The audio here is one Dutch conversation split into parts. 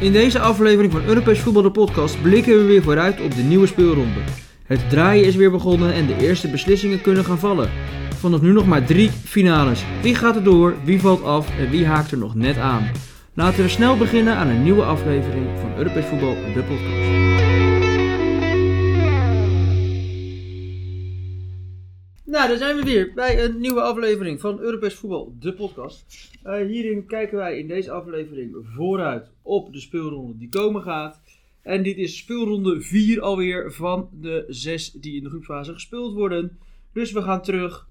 In deze aflevering van Europees Voetbal de Podcast blikken we weer vooruit op de nieuwe speelronde. Het draaien is weer begonnen en de eerste beslissingen kunnen gaan vallen. Vanaf nu nog maar drie finales. Wie gaat er door, wie valt af en wie haakt er nog net aan? Laten we snel beginnen aan een nieuwe aflevering van Europees Voetbal de Podcast. Nou, daar zijn we weer bij een nieuwe aflevering van Europees Voetbal, de podcast. Eh, hierin kijken wij in deze aflevering vooruit op de speelronde die komen gaat. En dit is speelronde 4 alweer van de 6 die in de groepsfase gespeeld worden. Dus we gaan terug.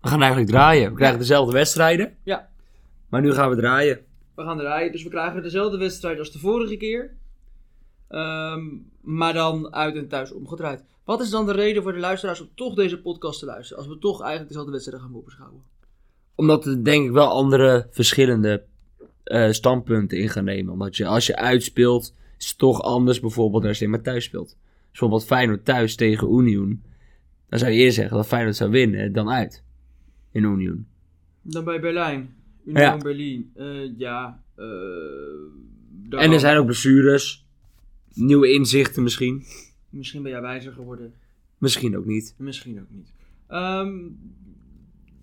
We gaan eigenlijk draaien. We krijgen dezelfde wedstrijden. Ja. Maar nu gaan we draaien. We gaan draaien, dus we krijgen dezelfde wedstrijd als de vorige keer. Ehm, maar dan uit en thuis omgedraaid. Wat is dan de reden voor de luisteraars om toch deze podcast te luisteren? Als we toch eigenlijk dezelfde wedstrijd gaan voorbeschouwen. Omdat er denk ik wel andere verschillende eh, standpunten in gaan nemen. Omdat je, als je uitspeelt, is het toch anders bijvoorbeeld dan als je maar thuis speelt. Dus bijvoorbeeld Feyenoord thuis tegen Union. Dan zou je eerder zeggen dat Feyenoord zou winnen dan uit. In Union. Dan bij Berlijn. Union Ja. Berlin. Eh, ja. eh, daar En ook. er zijn ook blessures. Nieuwe inzichten misschien. Misschien ben jij wijzer geworden. Misschien ook niet. Misschien ook niet. Ehm,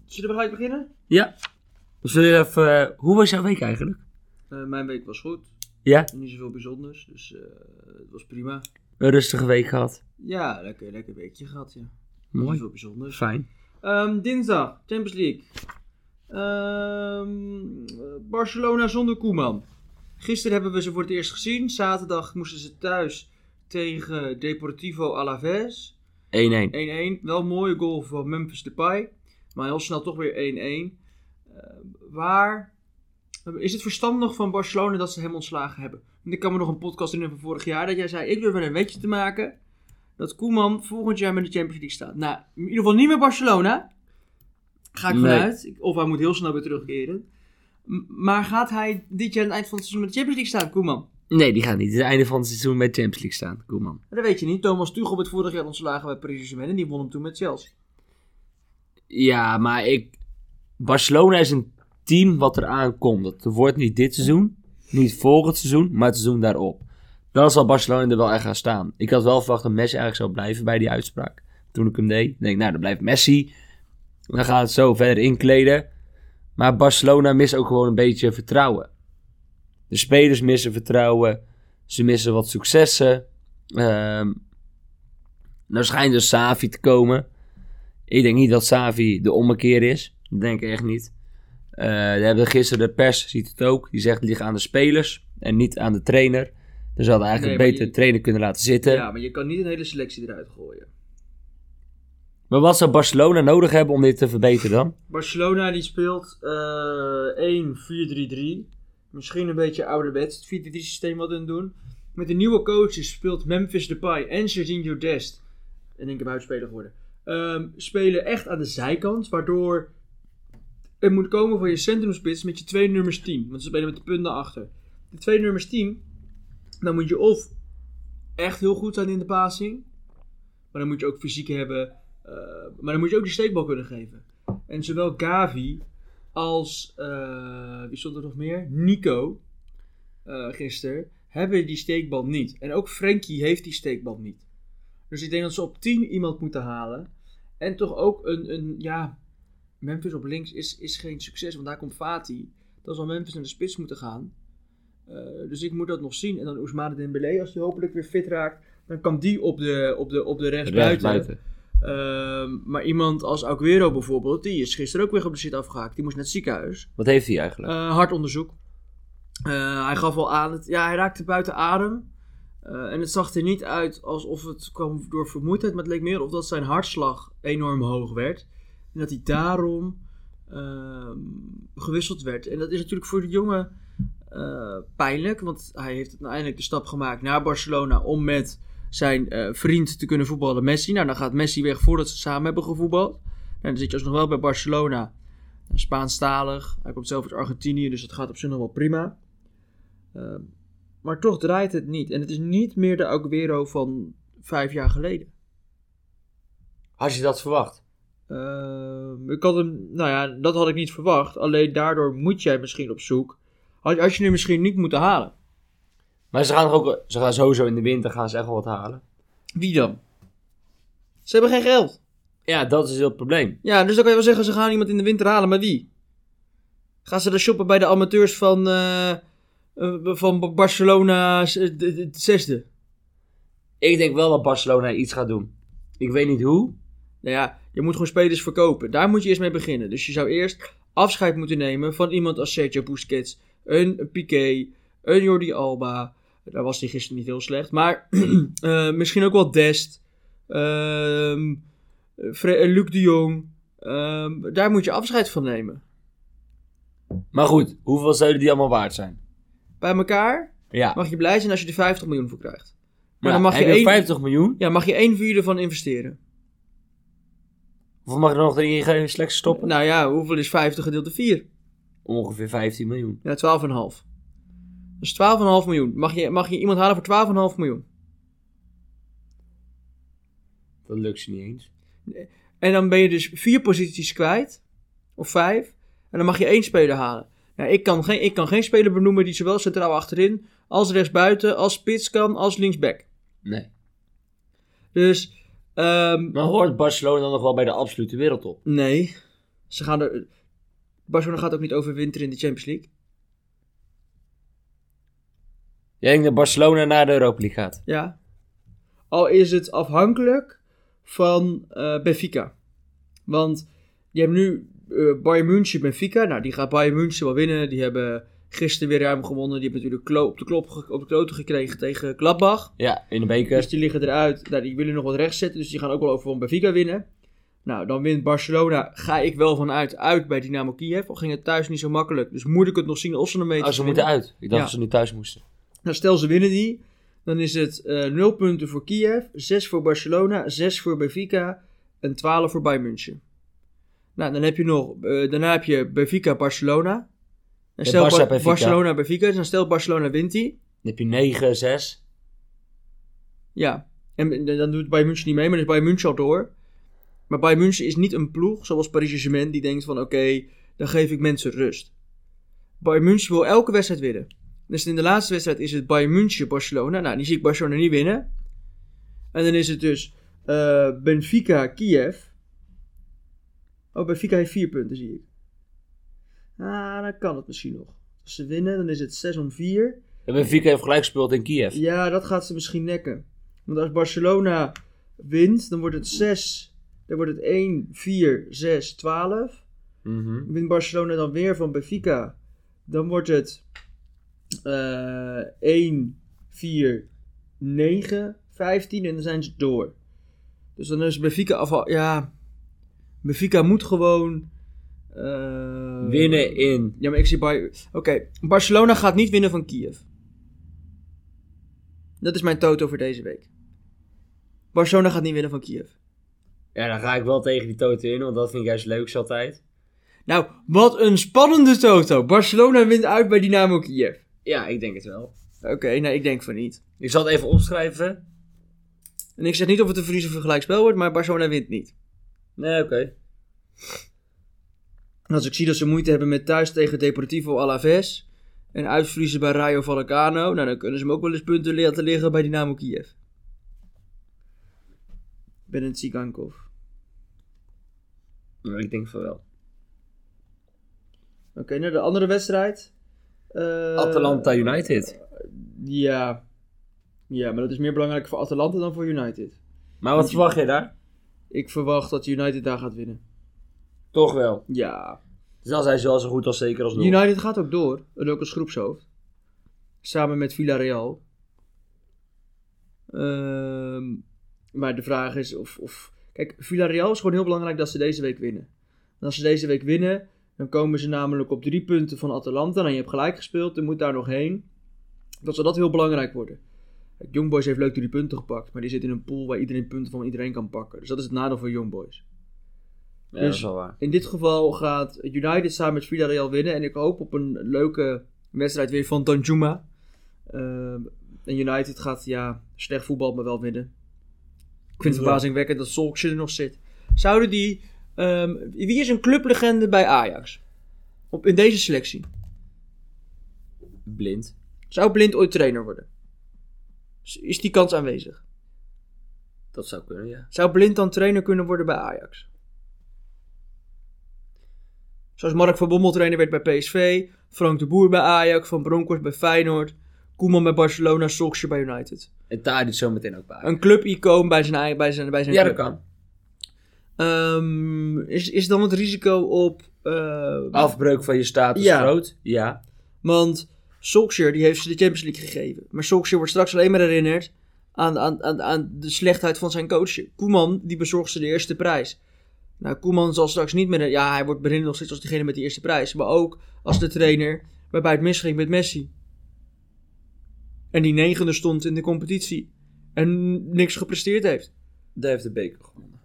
zullen we gelijk beginnen? Ja. Dus wil je even, eh, hoe was jouw week eigenlijk? Eh, mijn week was goed. Ja. Niet zoveel bijzonders, dus eh, het was prima. Een rustige week gehad. Ja, lekker, lekker weekje gehad, ja. Niet Mooi. zoveel bijzonders. Fijn. Ehm, dinsdag, Champions League. Ehm, Barcelona zonder Koeman. Gisteren hebben we ze voor het eerst gezien. Zaterdag moesten ze thuis tegen Deportivo Alaves. 1-1. 1-1. Wel een mooie goal van Memphis Depay. Maar heel snel toch weer 1-1. Eh, waar eh, is het verstandig van Barcelona dat ze hem ontslagen hebben? Want ik kan me nog een podcast herinneren van vorig jaar dat jij zei: Ik durf wel een wetje te maken dat Koeman volgend jaar met de Champions League staat. Nou, in ieder geval niet meer Barcelona. Ga ik Nee. vanuit. Ik- Of hij moet heel snel weer terugkeren. M- maar gaat hij dit jaar aan het eind van het seizoen met de Champions League staan, Koeman? Nee, die gaat niet. Het is het einde van het seizoen bij Champions League staan. Koeman. Dat weet je niet. Thomas Tuchel werd vorig jaar ontslagen bij Paris Saint-Germain en die won hem toen met Chelsea. Ja, maar ik... Barcelona is een team wat eraan komt. Dat wordt niet dit seizoen, niet volgend seizoen, maar het seizoen daarop. Dan zal Barcelona er wel echt gaan staan. Ik had wel verwacht dat Messi eigenlijk zou blijven bij die uitspraak. Toen ik hem deed. Ik denk, nou, dan blijft Messi. Dan gaan we het zo verder inkleden. Maar Barcelona mist ook gewoon een beetje vertrouwen. De spelers missen vertrouwen. Ze missen wat successen. Ehm nou schijnt dus Savi te komen. Ik denk niet dat Savi de ommekeer is. Dat denk ik echt niet. Eh we hebben gisteren de pers, ziet het ook. Die zegt het ligt aan de spelers en niet aan de trainer. Dus ze hadden eigenlijk Nee, maar beter je- de trainer kunnen laten zitten. Ja, maar je kan niet een hele selectie eruit gooien. Maar wat zou Barcelona nodig hebben om dit te verbeteren dan? Barcelona die speelt eh 1-4-3-3. Misschien een beetje ouderwets, het 4-3 systeem wat hun doen. Met de nieuwe coaches speelt Memphis Depay en Serginho Dest. En ik heb uitspeler geworden. Ehm, spelen echt aan de zijkant, waardoor er moet komen van je centrumspits met je twee nummers 10. Want ze spelen met de punten achter. De twee nummers 10, dan moet je of echt heel goed zijn in de passing. Maar dan moet je ook fysiek hebben. eh, maar dan moet je ook die steekbal kunnen geven. En zowel Gavi als, eh, wie stond er nog meer? Nico, eh gisteren, hebben die steekbal niet. En ook Frenkie heeft die steekbal niet. Dus ik denk dat ze op 10 iemand moeten halen. En toch ook een, een ja, Memphis op links is, is geen succes, want daar komt Fati. Dan zal Memphis naar de spits moeten gaan. Eh, dus ik moet dat nog zien. En dan Ousmane Dembele, als hij hopelijk weer fit raakt, dan kan die op de, op de, op de rechtsbuiten. Ehm, maar iemand als Aguero bijvoorbeeld, die is gisteren ook weer geblesseerd afgehaakt. Die moest naar het ziekenhuis. Wat heeft hij eigenlijk? Eh, hartonderzoek. Eh, hij gaf al aan, het, ja, hij raakte buiten adem. Eh, en het zag er niet uit alsof het kwam door vermoeidheid, maar het leek meer of dat zijn hartslag enorm hoog werd. En dat hij daarom ehm, gewisseld werd. En dat is natuurlijk voor de jongen eh, pijnlijk, want hij heeft uiteindelijk de stap gemaakt naar Barcelona om met zijn eh, vriend te kunnen voetballen, Messi. Nou, dan gaat Messi weg voordat ze samen hebben gevoetbald. Nou, dan zit je alsnog wel bij Barcelona. Spaanstalig. Hij komt zelf uit Argentinië, dus dat gaat op zich nog wel prima. Ehm, maar toch draait het niet. En het is niet meer de Aguero van vijf jaar geleden. Had je dat verwacht? Ehm, ik had hem, nou ja, dat had ik niet verwacht. Alleen daardoor moet jij misschien op zoek Had, had je nu misschien niet moeten halen. Maar ze gaan toch ook, ze gaan sowieso in de winter gaan ze echt wel wat halen. Wie dan? Ze hebben geen geld. Ja, dat is heel het probleem. Ja, dus dan kan je wel zeggen, ze gaan iemand in de winter halen, maar wie? Gaan ze dan shoppen bij de amateurs van, eh, eh, van Barcelona eh, de- de- het zesde? Ik denk wel dat Barcelona iets gaat doen. Ik weet niet hoe. Nou ja, je moet gewoon spelers verkopen. Daar moet je eerst mee beginnen. Dus je zou eerst afscheid moeten nemen van iemand als Sergio Busquets, een Piqué, een Jordi Alba. Daar was hij gisteren niet heel slecht. Maar eh, misschien ook wel Dest, ehm, Fre- eh, Luc de Jong. Ehm, daar moet je afscheid van nemen. Maar goed, hoeveel zouden die allemaal waard zijn? Bij elkaar Ja. mag je blij zijn als je er 50 miljoen voor krijgt. Maar Ja, dan mag je, heb je één, 50 miljoen. ja, mag je één vierde van investeren. Of mag je er nog drie in je slechts stoppen? Nou ja, hoeveel is 50 gedeeld door 4? Ongeveer 15 miljoen. Ja, 12,5. Dus 12,5 miljoen. Mag je, mag je iemand halen voor 12,5 miljoen? Dat lukt ze niet eens. En dan ben je dus vier posities kwijt. Of vijf. En dan mag je één speler halen. Ja, ik, kan geen, ik kan geen speler benoemen die zowel centraal achterin, als rechtsbuiten, als spits kan, als linksback. Nee. Dus, ehm, Maar hoort Barcelona dan nog wel bij de absolute wereldtop? nee. Ze gaan er, Barcelona gaat ook niet overwinteren in de Champions League. Jij denkt dat Barcelona naar de Europa League gaat? Ja. Al is het afhankelijk van eh, Benfica. Want je hebt nu eh, Bayern München, Benfica. Nou, die gaat Bayern München wel winnen. Die hebben gisteren weer ruim gewonnen. Die hebben natuurlijk klo- op, de klop ge- op de kloten gekregen tegen Gladbach. Ja, in Dus de beker. die liggen eruit. Nou, die willen nog wat rechtzetten. Dus die gaan ook wel over van Benfica winnen. Nou, dan wint Barcelona. Ga ik wel vanuit uit bij Dynamo Kiev. Al ging het thuis niet zo makkelijk. Dus moet ik het nog zien of ze een beetje Oh, ze moeten uit. Ik dacht Ja. dat ze nu thuis moesten. nou, stel ze winnen die, dan is het eh 0 punten voor Kiev, 6 voor Barcelona, 6 voor Benfica en 12 voor Bayern München. Nou, dan heb je nog, eh, daarna heb je Benfica Barcelona. En stel Barca, Bar- Benfica. Barcelona Benfica, dus dan stel Barcelona wint die. Dan heb je 9, 6. Ja, en en dan doet Bayern München niet mee, maar dan is Bayern München al door. Maar Bayern München is niet een ploeg zoals Paris Saint-Germain die denkt van oké, dan geef ik mensen rust. Bayern München wil elke wedstrijd winnen. Dus in de laatste wedstrijd is het Bayern München-Barcelona. Nou, die zie ik Barcelona niet winnen. En dan is het dus eh, Benfica-Kiev. Oh, Benfica heeft vier punten, zie ik. Ah, dan kan het misschien nog. Als ze winnen, dan is het 6 om 4. En Benfica heeft gelijk gespeeld in Kiev. Ja, dat gaat ze misschien nekken. Want als Barcelona wint, dan wordt het 6. Dan wordt het 1, 4, 6, 12. Mhm. Wint Barcelona dan weer van Benfica, dan wordt het eh 1, 4, 9, 15 en dan zijn ze door. Dus dan is Benfica afval. Ja, Benfica moet gewoon. eh, Winnen in. Ja, maar ik zie Bayern. Oké, Barcelona gaat niet winnen van Kiev. Dat is mijn toto voor deze week. Barcelona gaat niet winnen van Kiev. Ja, dan ga ik wel tegen die toten in, want dat vind ik juist leuk altijd. Nou, wat een spannende toto. Barcelona wint uit bij Dynamo Kiev. Ja, ik denk het wel. Oké, nou ik denk van niet. Ik zal het even opschrijven. En ik zeg niet of het een verlies of een gelijkspel wordt, maar Barcelona wint niet. Nee, oké. En Als ik zie dat ze moeite hebben met thuis tegen Deportivo Alaves en uitverliezen bij Rayo Vallecano, nou dan kunnen ze hem ook wel eens punten laten liggen bij Dynamo Kiev. Benent Sigankov. Nou, Ik denk van wel. Oké, naar de andere wedstrijd. Eh, Atalanta United. Ja. Ja, maar dat is meer belangrijk voor Atalanta dan voor United. Maar wat verwacht je daar? Ik verwacht dat United daar gaat winnen. Toch wel. Ja. Dus dan zijn ze wel zo goed als zeker als doel. United gaat ook door. En ook als groepshoofd. Samen met Villarreal. Ehm, maar de vraag is of, of... Kijk, Villarreal is gewoon heel belangrijk dat ze deze week winnen. En als ze deze week winnen, dan komen ze namelijk op drie punten van Atalanta. En je hebt gelijk gespeeld, er moet daar nog heen. Dat zal dat heel belangrijk worden. Kijk, Young Boys heeft leuk drie punten gepakt, maar die zit in een pool waar iedereen punten van iedereen kan pakken. Dus dat is het nadeel voor Young Boys. Dus- Ja, dat is wel waar. In dit geval gaat United samen met Villarreal winnen. En ik hoop op een leuke wedstrijd weer van Danjuma. Ehm, en United gaat ja, slecht voetbal, maar wel winnen. Ik vind het Ja. verbazingwekkend dat Solskjaer er nog zit. Zouden die... ehm, wie is een clublegende bij Ajax? Op, in deze selectie. blind. Zou Blind ooit trainer worden? Is- Is die kans aanwezig? Dat zou kunnen, ja. Zou Blind dan trainer kunnen worden bij Ajax? Zoals Mark van Bommel trainer werd bij PSV, Frank de Boer bij Ajax, Van Bronckhorst bij Feyenoord, Koeman bij Barcelona, Solskjaer bij United. En Tadic zo meteen ook bij. Een clubicoon bij zijn, ei- bij zijn, bij zijn ja, dat club. kan. Ehm, is, is dan het risico op... ehm, Afbreuk van je status Ja. groot. Ja. Want Solskjaer die heeft ze de Champions League gegeven. Maar Solskjaer wordt straks alleen maar herinnerd aan, aan, aan, aan de slechtheid van zijn coachje. Koeman die bezorgt ze de eerste prijs. Nou, Koeman zal straks niet meer... Ja, hij wordt herinnerd nog steeds als degene met de eerste prijs. Maar ook als de trainer waarbij het misging met Messi. En die negende stond in de competitie. En niks gepresteerd heeft. Daar heeft de beker gewonnen.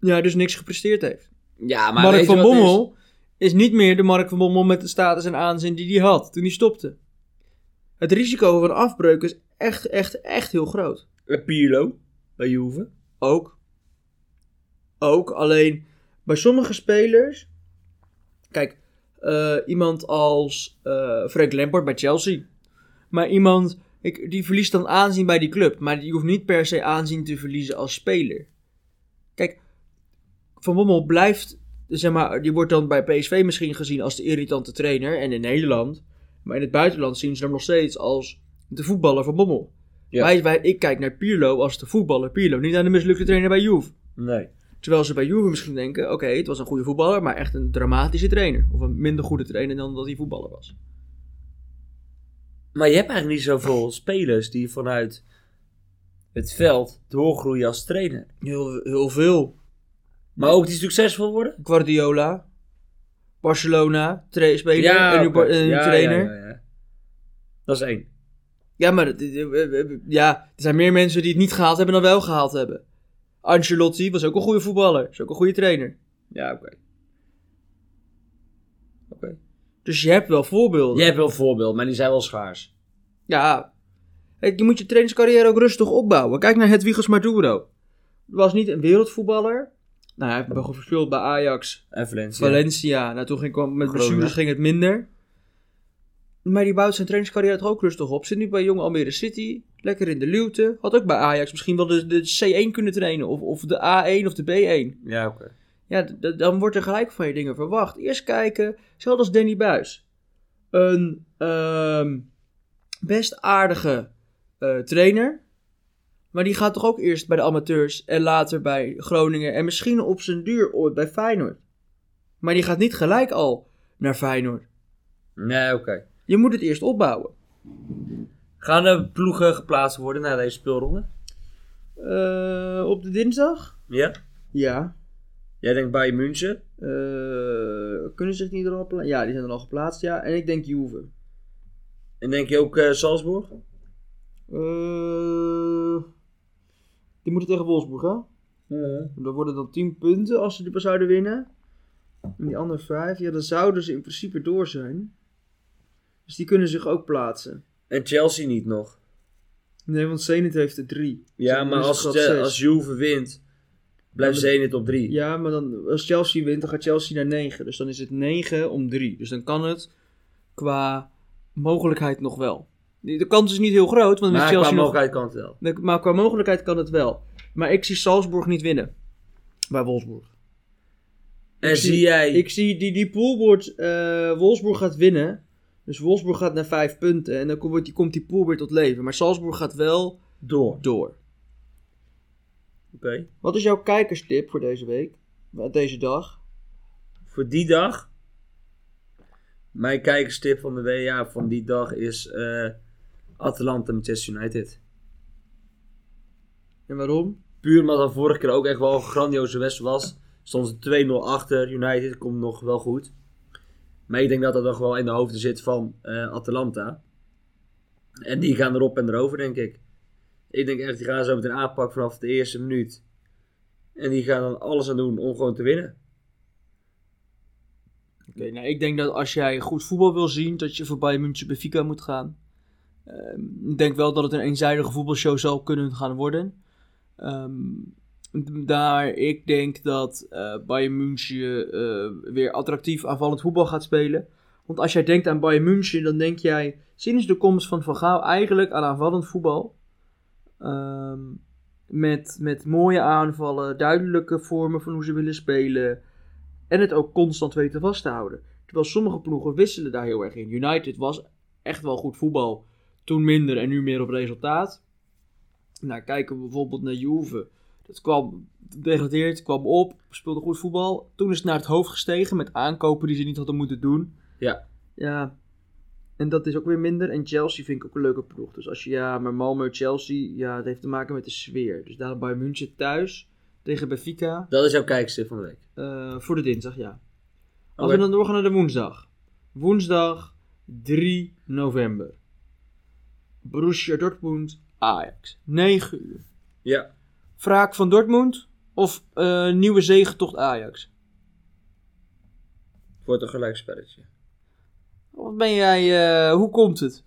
Ja, dus niks gepresteerd heeft. Ja, maar weet Mark je van wat het is? Bommel is? niet meer de Mark van Bommel met de status en aanzien die hij had toen hij stopte. Het risico van afbreuk is echt, echt, echt heel groot. Eh, Pirlo bij Juve. Ook. Ook, alleen bij sommige spelers. Kijk, eh, iemand als eh, Frank Lampard bij Chelsea. Maar iemand ik, die verliest dan aanzien bij die club. Maar die hoeft niet per se aanzien te verliezen als speler. Kijk, Van Bommel blijft, zeg maar, die wordt dan bij PSV misschien gezien als de irritante trainer. En in Nederland. Maar in het buitenland zien ze hem nog steeds als de voetballer van Bommel. Ja. Wij, wij, ik kijk naar Pirlo als de voetballer Pirlo. Niet naar de mislukte trainer bij Juve. Nee. Terwijl ze bij Juve misschien denken, oké, het was een goede voetballer, maar echt een dramatische trainer. Of een minder goede trainer dan dat hij voetballer was. Maar je hebt eigenlijk niet zoveel spelers die vanuit het veld doorgroeien als trainer. Heel, heel veel. Maar ook die succesvol worden. Guardiola, Barcelona, tra- speler en nu oké. Bar- en nu Ja, trainer. Ja, ja, ja, ja. Dat is één. maar dat- eh, ja, er zijn meer mensen die het niet gehaald hebben dan wel gehaald hebben. Ancelotti was ook een goede voetballer, is ook een goede trainer. Ja, oké. Oké. Dus je hebt wel voorbeelden. Je hebt wel voorbeelden, maar die zijn wel schaars. Ja, Kijk, je moet je trainingscarrière ook rustig opbouwen. Kijk naar Hedwiges Maduro. Was niet een wereldvoetballer. Nou, hij heeft wel gespeeld bij Ajax, En Valencia. Valencia. Nou, toen ging, kwam met Groningen. blessures ging het minder. Maar die bouwt zijn trainingscarrière toch ook rustig op. Zit nu bij Jong Almere City. Lekker in de luwte. Had ook bij Ajax misschien wel de, de C1 kunnen trainen. Of, of de A1 of de B1. Ja, oké. Ja, d- d- dan wordt er gelijk van je dingen verwacht. Eerst kijken. Zelfs als Danny Buis. Een ehm, best aardige eh, trainer. Maar die gaat toch ook eerst bij de amateurs en later bij Groningen en misschien op zijn duur ooit bij Feyenoord. Maar die gaat niet gelijk al naar Feyenoord. Nee, oké. Je moet het eerst opbouwen. Gaan er ploegen geplaatst worden na deze speelronde? Eh, op de dinsdag? Ja. Ja. Jij denkt Bayern München? Eh, kunnen ze zich niet er al pla- Ja, die zijn er al geplaatst, ja. En ik denk Juve. En denk je ook eh, Salzburg? Eh, die moeten tegen Wolfsburg, hè? Dan worden dan 10 punten als ze die zouden winnen. En die andere 5, ja, dan zouden ze in principe door zijn. Dus die kunnen zich ook plaatsen. En Chelsea niet nog. Nee, want Zenit heeft er 3. Ja, maar als, het Je- als Juve wint, blijft Dan- Zenit op 3. Ja, maar dan, als Chelsea wint, dan gaat Chelsea naar 9. Dus dan is het 9 om 3. Dus dan kan het qua mogelijkheid nog wel. De de kans is niet heel groot, want met Maar Chelsea qua nog... mogelijkheid kan het wel. Nee, Maar qua mogelijkheid kan het wel. Maar ik zie Salzburg niet winnen. Bij Wolfsburg. En zie- zie jij... Ik zie die, die pool wordt... eh, Wolfsburg gaat winnen. Dus Wolfsburg gaat naar 5 punten. En dan kom- wordt die, komt die pool weer tot leven. Maar Salzburg gaat wel Door. Oké. door. Wat is jouw kijkerstip voor deze week? Deze dag? Voor die dag... Mijn kijkerstip van de WA van die dag is... eh Atalanta Manchester United. En waarom? Puur omdat dat vorige keer ook echt wel een grandioze wedstrijd was. Stond ze 2-0 achter. United komt nog wel goed. Maar ik denk dat dat nog wel in de hoofden zit van eh, Atalanta. En die gaan erop en erover, denk ik. Ik denk echt, die gaan zo meteen aanpakken vanaf de eerste minuut. En die gaan dan alles aan doen om gewoon te winnen. Oké, nou ik denk dat als jij goed voetbal wil zien, dat je voor Bayern München Benfica moet gaan. Ehm, ik denk wel dat het een eenzijdige voetbalshow zal kunnen gaan worden. Ehm, d- daar ik denk dat eh Bayern München eh, weer attractief aanvallend voetbal gaat spelen. Want als jij denkt aan Bayern München, dan denk jij sinds de komst van Van Gaal eigenlijk aan aanvallend voetbal. Ehm, met, met mooie aanvallen, duidelijke vormen van hoe ze willen spelen. En het ook constant weten vast te houden. Terwijl sommige ploegen wisselen daar heel erg in. United was echt wel goed voetbal. Toen minder en nu meer op resultaat. Nou, kijken we bijvoorbeeld naar Juve. Dat kwam degradeerd, kwam op, speelde goed voetbal. Toen is het naar het hoofd gestegen met aankopen die ze niet hadden moeten doen. Ja. Ja. En dat is ook weer minder. En Chelsea vind ik ook een leuke ploeg. Dus als je, ja, maar Malmö, Chelsea, ja, het heeft te maken met de sfeer. Dus daarom bij München thuis tegen Benfica Dat is jouw kijkster van de week. eh, voor de dinsdag, ja. Als Oké. we dan doorgaan naar de woensdag. Woensdag 3 november. Borussia Dortmund, Ajax. 9 uur. Ja. Wraak van Dortmund of eh, nieuwe zegentocht Ajax? Wordt een gelijkspelletje. Wat ben jij, eh, hoe komt het?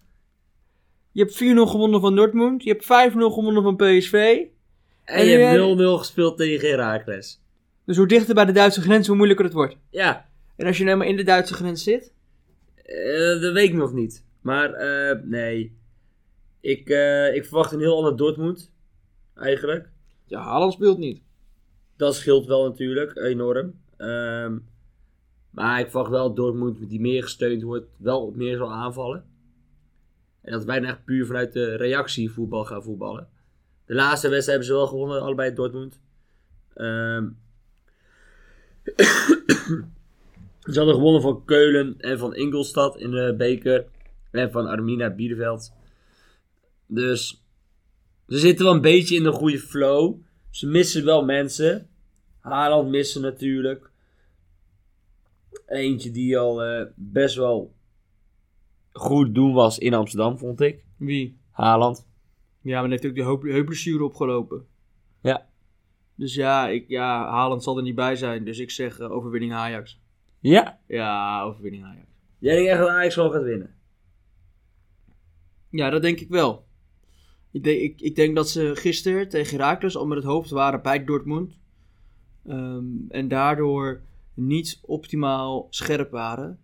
Je hebt 4-0 gewonnen van Dortmund. Je hebt 5-0 gewonnen van PSV. En, En je nu- hebt 0-0 gespeeld tegen Herakles. Dus hoe dichter bij de Duitse grens, hoe moeilijker het wordt. Ja, En als je nou maar in de Duitse grens zit? eh, dat weet ik nog niet. Maar eh, nee. Ik, eh, ik verwacht een heel ander Dortmund. Eigenlijk. Ja, Haaland speelt niet. Dat scheelt wel natuurlijk enorm. Ehm, maar ik verwacht wel dat Dortmund die meer gesteund wordt, wel op meer zal aanvallen. En dat wij dan echt puur vanuit de reactie voetbal gaan voetballen. De laatste wedstrijd hebben ze wel gewonnen, allebei Dortmund. Ehm ze hadden gewonnen van Keulen en van Ingolstad in de beker. En van Armina Bielefeld. Dus ze zitten wel een beetje in de goede flow. Ze missen wel mensen. Ah. Haaland missen natuurlijk. Eentje die al eh, best wel goed doen was in Amsterdam, vond ik. Wie? Haaland. Ja, maar dan heeft ook de heup- heupblessure opgelopen. Ja. Dus ja, ik, ja, Haaland zal er niet bij zijn. Dus ik zeg eh, overwinning Ajax. Ja. Ja, overwinning Ajax. Jij denkt echt dat Ajax gewoon gaat winnen. Ja, dat denk ik wel. Ik, denk- ik, ik denk dat ze gisteren tegen Heracles al met het hoofd waren bij Dortmund. Ehm, en daardoor niet optimaal scherp waren.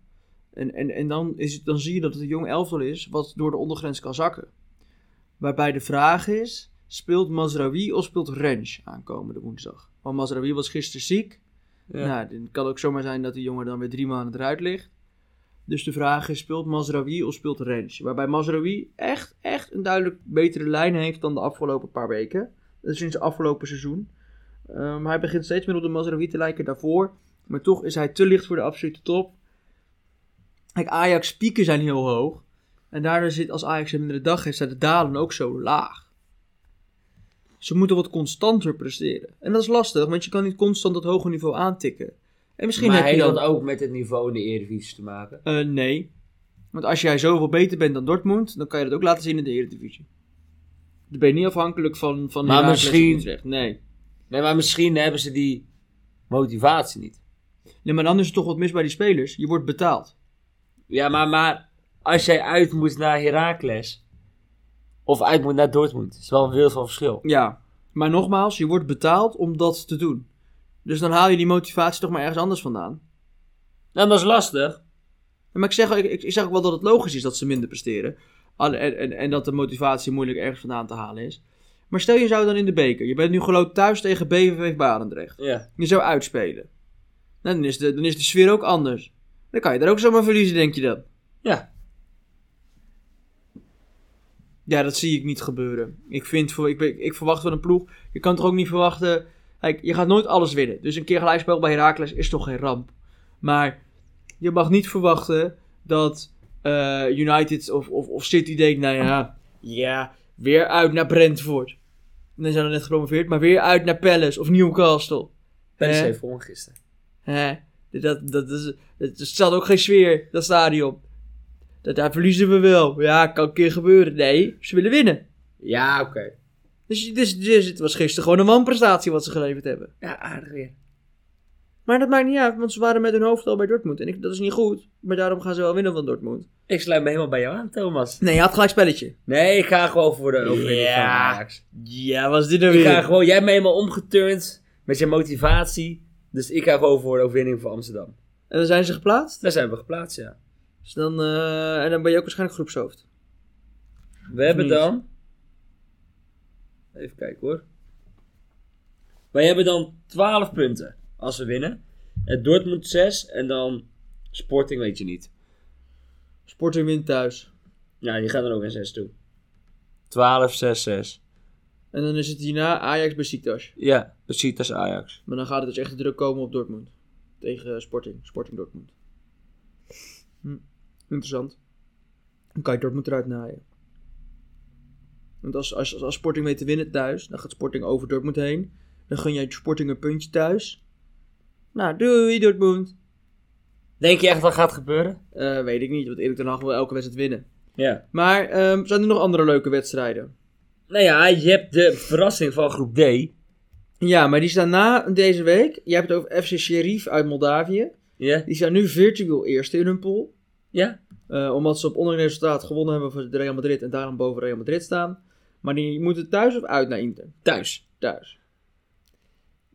En, en, en dan, is het, dan zie je dat het een jong elftal is wat door de ondergrens kan zakken. Waarbij de vraag is, speelt Mazraoui of speelt Rens aankomende woensdag? Want Mazraoui was gisteren ziek. Nou, het kan ook zomaar zijn dat die jongen dan weer drie maanden eruit ligt. Dus de vraag is, speelt Mazraoui of speelt Rens? Waarbij Mazraoui echt, echt een duidelijk betere lijn heeft dan de afgelopen paar weken. Dat is sinds het afgelopen seizoen. Ehm, hij begint steeds meer op de Mazraoui te lijken daarvoor. Maar toch is hij te licht voor de absolute top. Kijk, Ajax pieken zijn heel hoog. En daardoor zit, als Ajax een mindere dag heeft, zijn de dalen ook zo laag. Ze moeten wat constanter presteren. En dat is lastig, want je kan niet constant dat hoge niveau aantikken. En misschien maar heb je heeft dan... dat ook met het niveau in de Eredivisie te maken? Eh, nee. Want als jij zoveel beter bent dan Dortmund, dan kan je dat ook laten zien in de Eredivisie. Dan ben je niet afhankelijk van, van Maar Heracles of misschien- Utrecht. Nee. Nee, maar misschien hebben ze die motivatie niet. nee, maar dan is er toch wat mis bij die spelers. Je wordt betaald. Ja, maar, maar als jij uit moet naar Herakles. Of uit moet naar Dortmund. is wel een wereld van verschil. Ja. Maar nogmaals, je wordt betaald om dat te doen. Dus dan haal je die motivatie toch maar ergens anders vandaan. Nou, dat is lastig. Ja, Maar ik zeg, ik, ik- ik zeg ook wel dat het logisch is dat ze minder presteren. Al- En, en, en dat de motivatie moeilijk ergens vandaan te halen is. Maar stel je zou dan in de beker. Je bent nu geloot thuis tegen BVV Barendrecht. Ja. je zou uitspelen. Nou, dan, is de, dan is de sfeer ook anders. Dan kan je daar ook zomaar verliezen, denk je dan. Ja. Ja, dat zie ik niet gebeuren. Ik, vind, voor- ik, ik, ik verwacht van een ploeg. Je kan toch ook niet verwachten. Kijk, je gaat nooit alles winnen. Dus een keer gelijkspel bij Heracles is toch geen ramp. Maar je mag niet verwachten dat eh, United of, of, of City denkt: nou ja, ja, weer uit naar Brentford. En dan zijn we net gepromoveerd, maar weer uit naar Palace of Newcastle. Palace Hè? heeft gewonnen gisteren. Hè? Dat, dat, is, dat stelt ook geen sfeer, dat stadion. Dat, daar verliezen we wel. Ja, kan een keer gebeuren. Nee, ze willen winnen. Ja, oké. Dus, dus, dus het was gisteren gewoon een wanprestatie wat ze geleverd hebben. Ja, aardig weer. Maar dat maakt niet uit, want ze waren met hun hoofd al bij Dortmund. En ik, dat is niet goed, maar daarom gaan ze wel winnen van Dortmund. Ik sluit me helemaal bij jou aan, Thomas. Nee, je had gelijk spelletje. Nee, ik ga gewoon voor de overwinning Ja. van Ajax. Ja, was dit er Ik weer. ga gewoon, jij hebt me helemaal omgeturnd met je motivatie. Dus ik ga gewoon voor de overwinning van Amsterdam. En dan zijn ze geplaatst. Daar zijn we geplaatst, ja. Dus dan, eh, en dan ben je ook waarschijnlijk groepshoofd. We hebben niet? dan. Even kijken hoor. Wij hebben dan 12 punten als we winnen. En Dortmund 6 en dan Sporting weet je niet. Sporting wint thuis. Ja, die gaan er ook in 6 toe. 12, 6, 6. En dan is het hierna Ajax Besiktas. Ja, precies, dat is Ajax. Maar dan gaat het dus echt de druk komen op Dortmund. Tegen eh, Sporting. Sporting Dortmund. Hm, Interessant. Dan kan je Dortmund eruit naaien. Want als, als, als Sporting weet te winnen thuis, dan gaat Sporting over Dortmund heen. Dan gun jij Sporting een puntje thuis. Nou, doei Dortmund. Denk je echt dat gaat gebeuren? Eh, weet ik niet, want Erik ten Hag wil elke wedstrijd winnen. Ja. Maar ehm, zijn er nog andere leuke wedstrijden? Nou ja, je hebt de verrassing van groep D. Ja, maar die staan na deze week. Jij hebt het over FC Sheriff uit Moldavië. Ja? Die staan nu virtueel eerste in hun pool. Ja? Eh, omdat ze op onderling resultaat gewonnen hebben voor de Real Madrid en daarom boven Real Madrid staan. Maar die moeten thuis of uit naar Inter? Thuis. Thuis.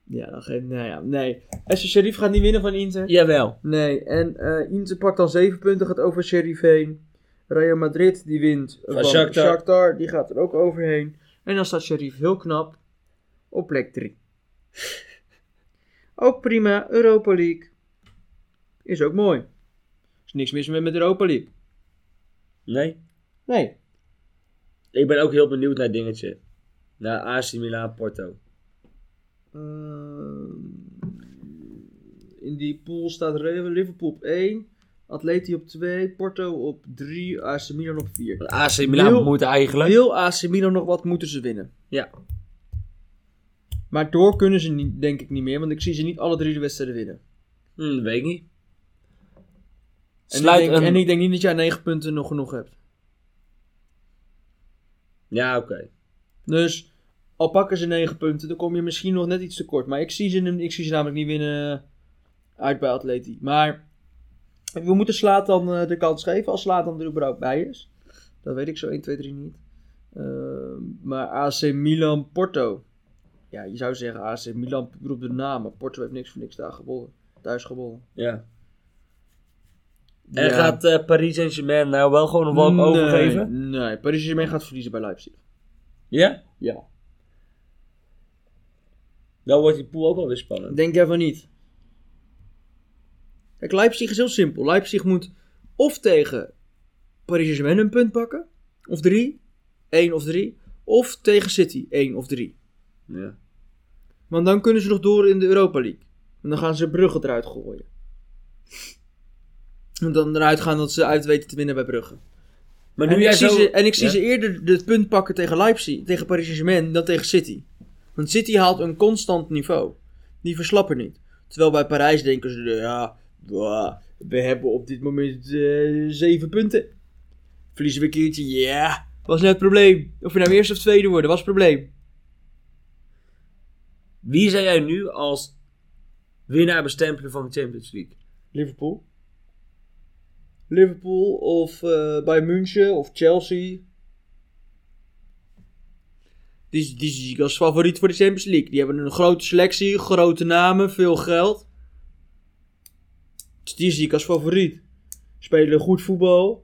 Ja, dan geen. Nou ja, nee. SC Sheriff gaat niet winnen van Inter. Jawel. Nee, en eh, Inter pakt dan 7 punten, gaat over Sheriff heen. Real Madrid die wint Van Shakhtar. die gaat er ook overheen. En dan staat Sheriff heel knap op plek 3. ook prima, Europa League. Is ook mooi. Is niks mis met met Europa League. Nee. Nee. Ik ben ook heel benieuwd naar dingetje. Naar AC Milan Porto. Ehm, in die pool staat Re- Liverpool op 1, Atleti op 2, Porto op 3, AC Milan op 4. Want AC Milan Heel- moet eigenlijk. Wil AC Milan nog wat, moeten ze winnen. Ja. Maar door kunnen ze niet, denk ik niet meer, want ik zie ze niet alle drie de wedstrijden winnen. Hm, dat weet ik niet. En, Sluit ik, denk, een- en ik denk niet dat jij 9 punten nog genoeg hebt. Ja, oké. Dus al pakken ze 9 punten, dan kom je misschien nog net iets tekort. Maar ik zie ze, ik zie ze namelijk niet winnen eh, uit bij Atleti. Maar we moeten Slaat dan de kans geven als Slaat dan er überhaupt bij is. Dat weet ik zo 1, 2, 3 niet. Ehm, maar AC Milan Porto. Ja, je zou zeggen AC Milan puur op de naam. Maar Porto heeft niks voor niks daar gewonnen. Thuis gewonnen. Ja. En Ja. gaat eh, Paris Saint-Germain nou wel gewoon een walk overgeven? Nee, nee, Paris Saint-Germain gaat verliezen bij Leipzig. Ja? Ja. Dan wordt die pool ook wel weer spannend. Denk jij van niet? Kijk, Leipzig is heel simpel. Leipzig moet of tegen Paris Saint-Germain een punt pakken, of drie, één of drie, of tegen City één of drie. Ja. Want dan kunnen ze nog door in de Europa League. En dan gaan ze Brugge eruit gooien. En dan eruit gaan dat ze uit weten te winnen bij Brugge. Maar nu En ik, jij zie zo... ze, en ik zie Ja? ze eerder het punt pakken tegen Leipzig, tegen Paris Saint-Germain, dan tegen City. Want City haalt een constant niveau. Die verslappen niet. Terwijl bij Parijs denken ze, ja, bah, we hebben op dit moment eh, zeven punten. Verliezen we een keertje, ja, was net het probleem. Of je nou eerste of tweede worden, was het probleem. Wie zou jij nu als winnaar bestempelen van de Champions League? Liverpool. Liverpool of eh Bayern München of Chelsea. Die, die zie ik als favoriet voor de Champions League. Die hebben een grote selectie, grote namen, veel geld. Dus die zie ik als favoriet. Spelen goed voetbal.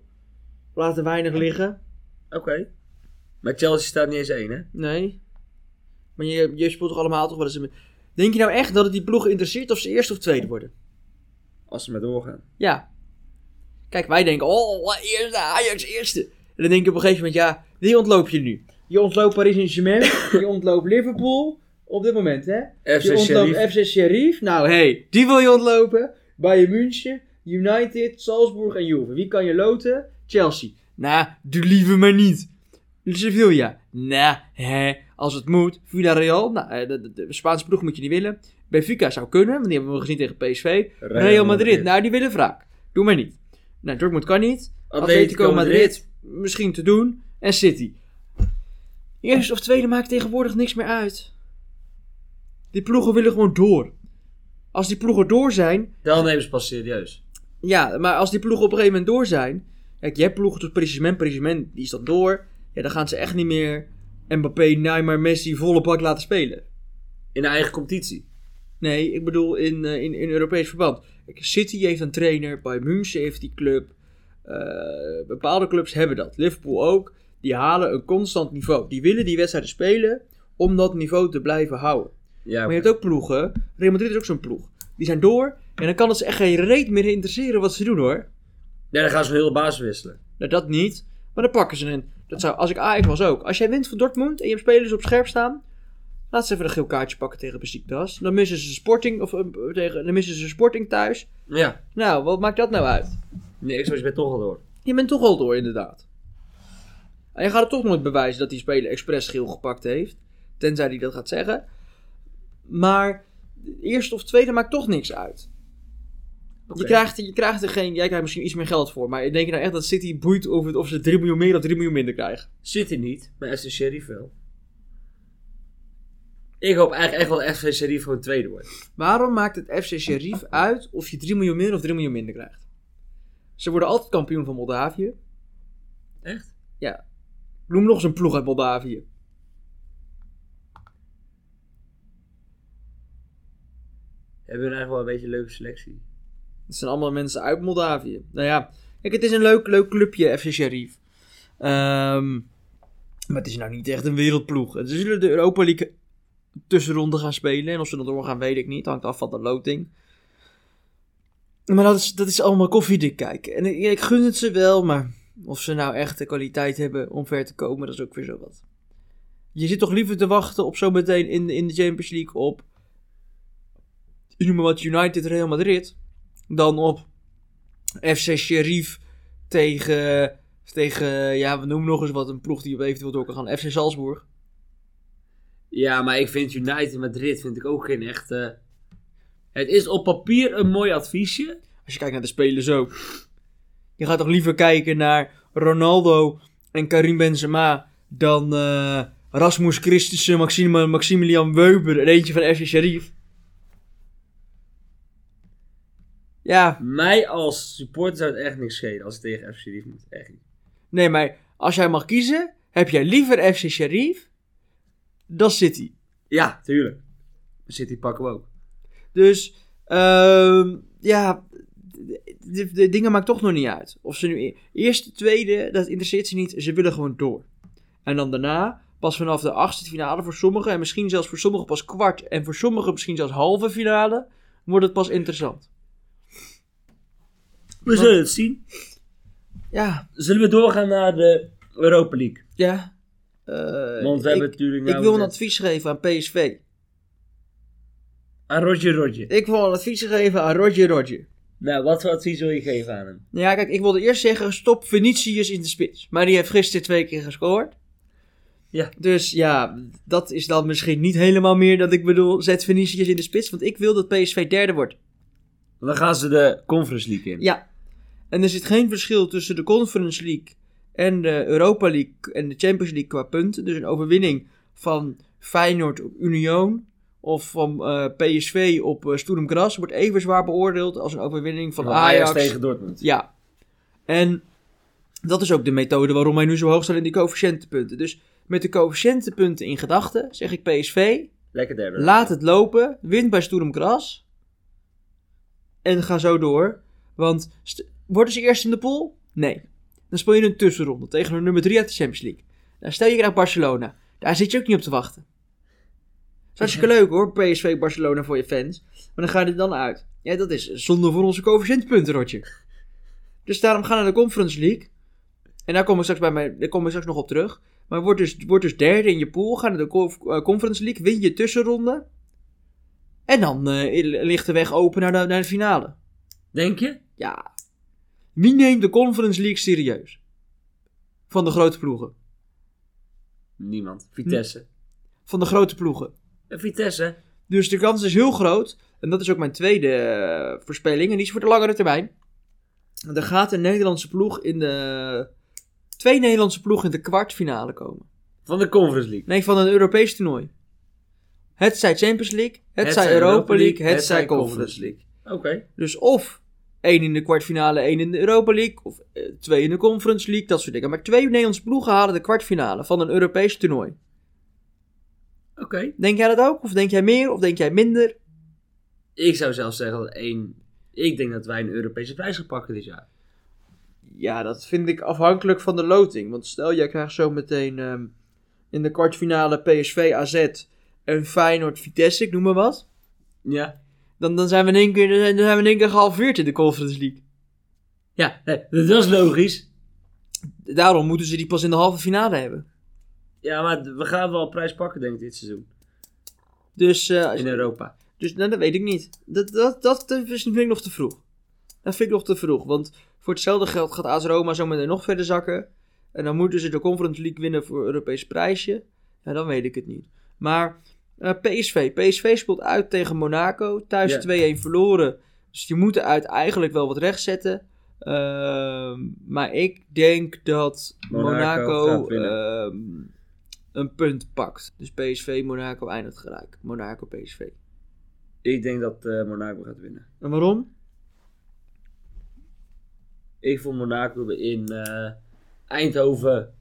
Laten weinig liggen. Oké. Maar Chelsea staat niet eens één, hè? Nee. Maar je, je speelt toch allemaal toch wel eens... een- Denk je nou echt dat het die ploeg interesseert of ze eerste of tweede worden? Als ze maar doorgaan. Ja. Kijk, wij denken, oh, eerste, Ajax eerste. En dan denk je op een gegeven moment, ja, wie ontloop je nu? Je ontloopt Paris Saint-Germain, je ontloopt Liverpool, op dit moment hè. je FC ontloopt Sheriff. FC Sheriff, nou hé, hey, die wil je ontlopen. Bayern München, United, Salzburg en Juve. Wie kan je loten? Chelsea. Nou, doe liever maar niet. Dus Sevilla. Nou, hè, als het moet. Villarreal, nou, eh, de, de- de Spaanse ploeg moet je niet willen. Benfica zou kunnen, want die hebben we gezien tegen PSV. Real Madrid, nou die willen wraak. Doe maar niet. Nou, Dortmund kan niet. Atletico Madrid, misschien te doen. En City. Eerst of tweede maakt tegenwoordig niks meer uit. Die ploegen willen gewoon door. Als die ploegen door zijn, Dan nemen ze pas serieus. ja, maar als die ploegen op een gegeven moment door zijn. Kijk, je hebt ploegen tot Paris Saint-Germain, Paris Saint-Germain, die is dan door. Ja, dan gaan ze echt niet meer Mbappé, Neymar, Messi volle bak laten spelen. In de eigen competitie. Nee, ik bedoel in, eh, in, in Europees verband. Kijk, City heeft een trainer, Bayern München heeft die club. Eh, bepaalde clubs hebben dat. Liverpool ook. Die halen een constant niveau. Die willen die wedstrijden spelen om dat niveau te blijven houden. Ja, Maar je hebt ook ploegen. Real Madrid is ook zo'n ploeg. Die zijn door. En dan kan het ze echt geen reet meer interesseren wat ze doen hoor. ja, dan gaan ze hun hele baas wisselen. Nou, dat niet. Maar dan pakken ze een. Dat zou, als ik Ajax was ook. Als jij wint van Dortmund en je hebt spelers op scherp staan. Laat ze even een geel kaartje pakken tegen Besiktas. Dan missen ze Sporting, of, eh, tegen, dan missen ze sporting thuis. Ja. Nou, wat maakt dat nou uit? Nee, ik zou je bent toch al door. Je bent toch al door, inderdaad. En je gaat het toch nooit bewijzen dat die speler expres geel gepakt heeft. Tenzij hij dat gaat zeggen. Maar de eerste of tweede maakt toch niks uit. Je, krijgt, je krijgt er geen... Jij krijgt misschien iets meer geld voor. Maar ik denk nou echt dat City boeit of, het, of ze 3 miljoen meer of 3 miljoen minder krijgen. City niet, maar FC Sheriff wel. Ik hoop eigenlijk echt wel dat FC Sheriff gewoon tweede wordt. Waarom maakt het FC Sheriff uit of je 3 miljoen meer of 3 miljoen minder krijgt? Ze worden altijd kampioen van Moldavië. Echt? Noem nog eens een ploeg uit Moldavië. Hebben we eigenlijk wel een beetje een leuke selectie. Het zijn allemaal mensen uit Moldavië. Nou ja, kijk, het is een leuk, leuk clubje, FC Sheriff. Ehm, maar het is nou niet echt een wereldploeg. Ze zullen de Europa League tussenronde gaan spelen. En of ze dat doorgaan, weet ik niet. Hangt af van de loting. Maar dat is, dat is allemaal koffiedik kijken. En ik, ik gun het ze wel, maar of ze nou echt de kwaliteit hebben om ver te komen, dat is ook weer zo wat. Je zit toch liever te wachten op zometeen in, in de Champions League op. Ik noem maar wat United Real Madrid dan op FC Sheriff tegen, tegen ja, we noemen nog eens wat, een ploeg die op eventueel door kan gaan, FC Salzburg. Ja, maar ik vind United Madrid vind ik ook geen echte... Het is op papier een mooi adviesje. Als je kijkt naar de spelers ook. Je gaat toch liever kijken naar Ronaldo en Karim Benzema dan eh, Rasmus Christensen, Maxima- Maximilian Weuber en eentje van FC Sheriff. Ja, Mij als supporter zou het echt niks schelen als ik tegen FC Sheriff moet. Echt niet. nee, maar als jij mag kiezen, heb jij liever FC Sheriff dan City. Ja, tuurlijk. City pakken we ook. Dus ehm, ja, de, de- de dingen maakt toch nog niet uit. Of ze nu e- eerste, tweede, dat interesseert ze niet. Ze willen gewoon door. En dan daarna, pas vanaf de achtste finale voor sommigen, en misschien zelfs voor sommigen pas kwart, en voor sommigen misschien zelfs halve finale, wordt het pas interessant. We zullen het zien. Ja, Zullen we doorgaan naar de Europa League? ja. Eh, Want we ik, hebben natuurlijk ik nou wil een net- advies geven aan PSV. Aan Roger Roger. Ik wil een advies geven aan Roger Roger. Nou, wat voor advies wil je geven aan hem? Nou ja, kijk, ik wilde eerst zeggen, stop Venetius in de spits. Maar die heeft gisteren twee keer gescoord. Ja. Dus ja, dat is dan misschien niet helemaal meer dat ik bedoel, zet Venetius in de spits. Want ik wil dat PSV derde wordt. Dan gaan ze de Conference League in. Ja. En er zit geen verschil tussen de Conference League en de Europa League en de Champions League qua punten. Dus een overwinning van Feyenoord op Union of van eh, PSV op eh, Sturm Gras wordt even zwaar beoordeeld als een overwinning van, Van Ajax, Ajax tegen Dortmund. Ja. En dat is ook de methode waarom wij nu zo hoog staan in die coëfficiëntenpunten. Dus met de coëfficiëntenpunten in gedachten zeg ik PSV, Lekker derde. laat het lopen, wint bij Sturm Gras en ga zo door. Want st- worden ze eerst in de pool? Nee. Dan speel je een tussenronde tegen een nummer 3 uit de Champions League. Dan stel je krijgt Barcelona. Daar zit je ook niet op te wachten. Het is hartstikke leuk hoor, PSV Barcelona voor je fans. Maar dan ga je er dan uit. Ja, dat is zonde voor onze coëfficiëntpunten, Rotje. Dus daarom gaan we naar de Conference League. En daar kom ik straks, bij mij, daar kom ik straks nog op terug. Maar wordt dus, word dus derde in je pool. Ga naar de co- eh, Conference League. Win je tussenronde. En dan eh, ligt de weg open naar de, naar de finale. Denk je? Ja. Wie neemt de Conference League serieus? Van de grote ploegen. Niemand. Vitesse. Van de grote ploegen. En Vitesse. Dus de kans is heel groot. En dat is ook mijn tweede eh, voorspelling. En die is voor de langere termijn. Er gaat een Nederlandse ploeg in de... Twee Nederlandse ploegen in de kwartfinale komen. Van de Conference League. Nee, van een Europees toernooi. Het zij Champions League, het, zij Europa League, het, zij Conference League. Oké. Dus of één in de kwartfinale, één in de Europa League, of eh, twee in de Conference League, dat soort dingen. Maar twee Nederlandse ploegen halen de kwartfinale van een Europees toernooi. Oké. Denk jij dat ook? Of denk jij meer? Of denk jij minder? Ik zou zelfs zeggen dat één... Ik denk dat wij een Europese prijs gaan pakken dit jaar. Ja, dat vind ik afhankelijk van de loting. Want stel, jij krijgt zo meteen ehm, in de kwartfinale PSV AZ en Feyenoord Vitesse, ik noem maar wat. Ja. Dan, dan, zijn we in één keer, dan zijn dan zijn we in één keer gehalveerd in de Conference League. Ja, nee, dat is logisch. Daarom moeten ze die pas in de halve finale hebben. Ja, maar we gaan wel prijs pakken, denk ik, dit seizoen. Dus, eh, als- In Europa. dus nou, dat weet ik niet. Dat, dat, dat is- vind ik nog te vroeg. Dat vind ik nog te vroeg. Want voor hetzelfde geld gaat AS Roma zo meteen nog verder zakken. En dan moeten ze de Conference League winnen voor een Europees prijsje. Ja, dan weet ik het niet. Maar eh, PSV. PSV speelt uit tegen Monaco. Thuis Ja. 2-1 verloren. Dus die moeten uit eigenlijk wel wat rechtzetten. Ehm, maar ik denk dat Monaco Monaco, gaat winnen. ehm, een punt pakt. Dus PSV, Monaco eindigt gelijk. Monaco, PSV. Ik denk dat eh, Monaco gaat winnen. En waarom? Ik vond Monaco in eh, Eindhoven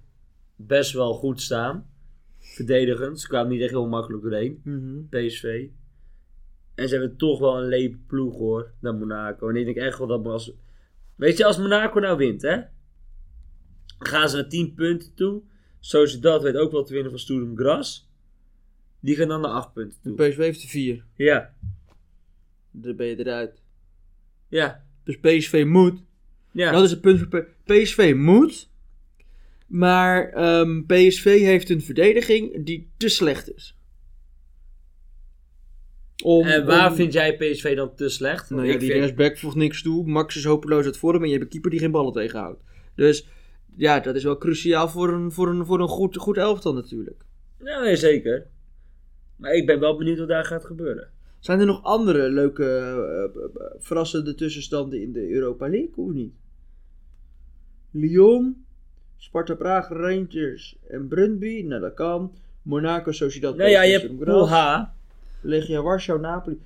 best wel goed staan. Verdedigend. Ze kwamen niet echt heel makkelijk doorheen. PSV. En ze hebben toch wel een leep ploeg hoor. Dan Monaco. En ik denk echt wel dat als... Weet je, als Monaco nou wint hè. Gaan ze naar 10 punten toe. Sociedad weet ook wel te winnen van Sturm Gras. Die gaan dan naar 8 punten De toe. PSV heeft er vier. Ja. Dan ben je eruit. Ja. Dus PSV moet. Ja. Dat is het punt voor P- PSV moet. Maar ehm, PSV heeft een verdediging die te slecht is. Om, En Eh, waar om- vind jij PSV dan te slecht? Want Nou ja, ik die vind- rechtsback voegt niks toe. Max is hopeloos uit vorm en je hebt een keeper die geen ballen tegenhoudt. Dus ja, dat is wel cruciaal voor een, voor een, voor een goed, goed elftal natuurlijk. Ja, Nou, nee, zeker. Maar ik ben wel benieuwd wat daar gaat gebeuren. Zijn er nog andere leuke, eh, eh, eh, verrassende tussenstanden in de Europa League of niet? Lyon, Sparta Praag, Rangers en Brøndby. Nou, dat kan. Monaco, Sociedad. Nou ja, PSV, je hebt Sturm Pool Graz. H. Legia Warschau, Napoli.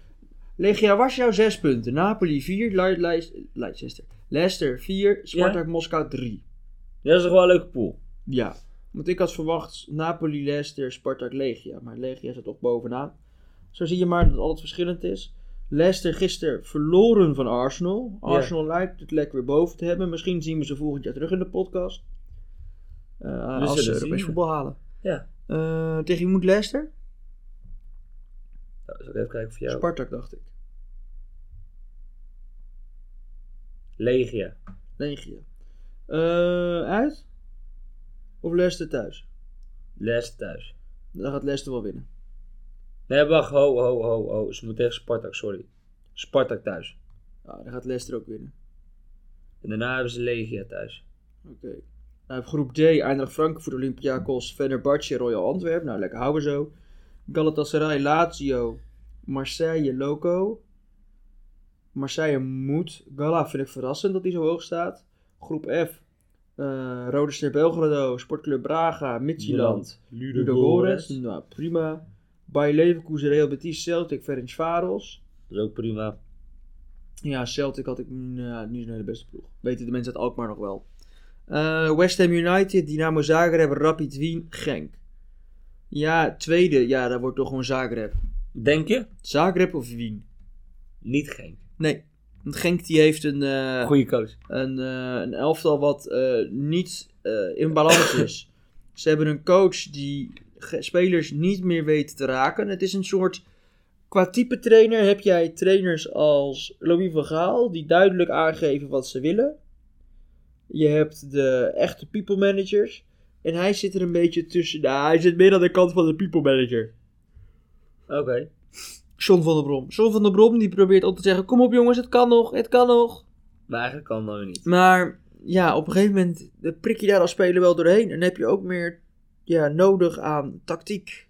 Legia Warschau 6 punten. Napoli 4. Leid- Leid- Leicester. Leicester 4. Spartak Moskou 3. Dat is toch wel een leuke pool. Ja. Want ik had verwacht Napoli, Leicester, Spartak, Legia. Maar Legia zit toch bovenaan. Zo zie je maar dat alles verschillend is. Leicester gisteren verloren van Arsenal. Ja. Arsenal lijkt het lekker weer boven te hebben. Misschien zien we ze volgend jaar terug in de podcast. Eh als ze zullen Europees zien. voetbal halen. Ja. Eh, tegen wie moet Leicester? Nou, zal ik even kijken voor jou. Spartak dacht ik. Legia. Legia. Eh, uit? Of Leicester thuis? Leicester thuis. Dan gaat Leicester wel winnen. Nee, wacht. Ho, ho, ho, ho. Ze moeten tegen Spartak, sorry. Spartak thuis. Ja, dan gaat Leicester ook winnen. En daarna hebben ze Legia thuis. Oké. Nou, groep D, Eindracht Frankfurt, Olympiakos, Fenerbahce, Royal Antwerp. Nou, lekker houden we zo. Galatasaray, Lazio, Marseille, Loco. Marseille moet. Gala vind ik verrassend dat hij zo hoog staat. Groep F, eh Rode Ster Belgrado, Sportclub Braga, Midtjylland, Ludogorets. Ludogorets. Nou, prima. Bayer Leverkusen, Real Betis, Celtic, Ferencvaros. Dat is ook prima. Ja, Celtic had ik nou, niet zo'n de beste ploeg. Weten de mensen uit Alkmaar nog wel. Eh, West Ham United, Dynamo Zagreb, Rapid Wien, Genk. Ja, tweede. Ja, dat wordt toch gewoon Zagreb. Denk je? Zagreb of Wien? Niet geen. Nee. Want Genk die heeft een, eh, Goeie coach. een, eh, een elftal wat eh, niet eh, in balans is. Ze hebben een coach die ge- spelers niet meer weet te raken. Het is een soort. Qua type trainer heb jij trainers als Louis van Gaal, die duidelijk aangeven wat ze willen. Je hebt de echte people managers. En hij zit er een beetje tussen. Nou, hij zit meer aan de kant van de people manager. Oké. John van der Brom. John van der Brom die probeert altijd te zeggen: Kom op jongens, het kan nog, het kan nog. Maar eigenlijk kan dat weer niet. Maar ja, op een gegeven moment eh, prik je daar als speler wel doorheen. En heb je ook meer ja, nodig aan tactiek,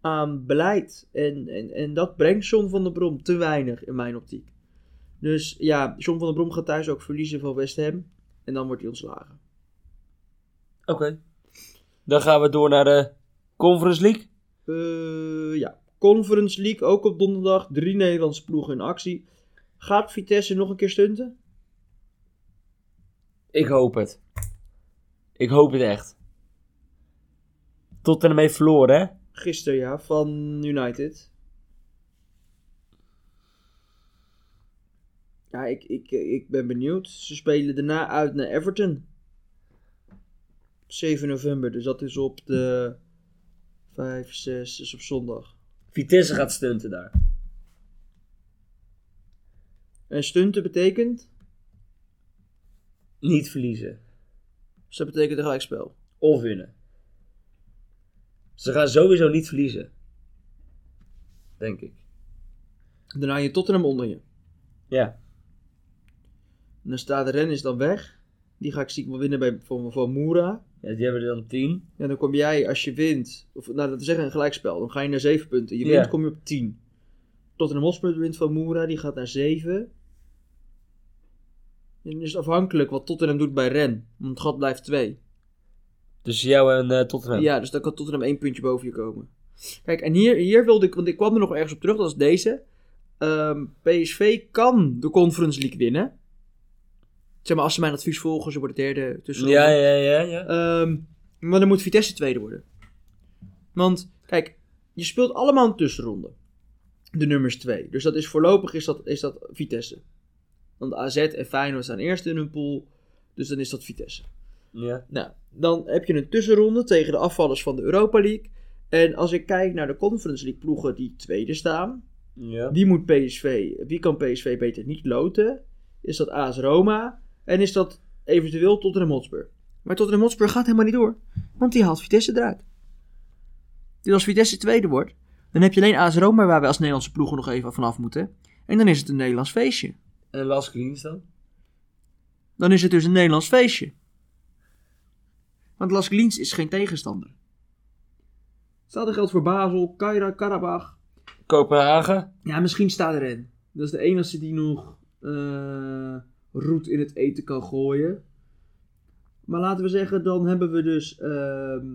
aan beleid. En, en, en dat brengt John van der Brom te weinig in mijn optiek. Dus ja, John van der Brom gaat thuis ook verliezen van West Ham. En dan wordt hij ontslagen. Oké. Dan gaan we door naar de Conference League. Eh, ja, Conference League ook op donderdag. Drie Nederlandse ploegen in actie. Gaat Vitesse nog een keer stunten? Ik hoop het. Ik hoop het echt. Tot en mee verloren, hè? Gisteren ja, van United. Ja, ik, ik, ik ben benieuwd. Ze spelen daarna uit naar Everton. 7 november, dus dat is op de 5, 6, is op zondag. Vitesse gaat stunten daar. En stunten betekent? Niet verliezen. Dus dat betekent een gelijkspel. Of winnen. Ze gaan sowieso niet verliezen. Denk ik. Daarna je Tottenham onder je. Ja. En dan staat Rennes dan weg. Die ga ik ziek wel winnen bij, van, van Moera. ja die hebben er dan 10. En dan kom jij, als je wint, of nou dat we zeggen een gelijkspel, dan ga je naar 7 punten. Je Ja. wint, kom je op 10. Tottenham Hotspur wint van Moera, die gaat naar 7. En dan is het afhankelijk wat Tottenham doet bij Ren. Want het gat blijft 2. Dus jou en eh, Tottenham. Ja, dus dan kan Tottenham één puntje boven je komen. Kijk, en hier, hier wilde ik, want ik kwam er nog ergens op terug, dat is deze. Ehm, PSV kan de Conference League winnen. Zeg maar, als ze mijn advies volgen, ze worden derde tussen. ja, ja, ja. ja. Ehm, maar dan moet Vitesse tweede worden. Want, kijk, je speelt allemaal een tussenronde. De nummers twee. Dus dat is voorlopig is dat, is dat Vitesse. Want AZ en Feyenoord staan eerst in hun pool. Dus dan is dat Vitesse. ja. Nou, dan heb je een tussenronde tegen de afvallers van de Europa League. En als ik kijk naar de Conference League ploegen die tweede staan. ja. Wie moet PSV, wie kan PSV beter niet loten? Is dat AS Roma? En is dat eventueel Tottenham Hotspur? Maar Tottenham Hotspur gaat helemaal niet door. Want die haalt Vitesse eruit. Dus als Vitesse tweede wordt, dan heb je alleen AS Roma waar we als Nederlandse ploegen nog even vanaf moeten. En dan is het een Nederlands feestje. En Las Greens dan? Dan is het dus een Nederlands feestje. Want Las Glins is geen tegenstander. Hetzelfde geldt voor Basel, Kaira, Karabach. Kopenhagen? Ja, misschien staat erin. Dat is de enige die nog eh roet in het eten kan gooien. Maar laten we zeggen, dan hebben we dus... ehm,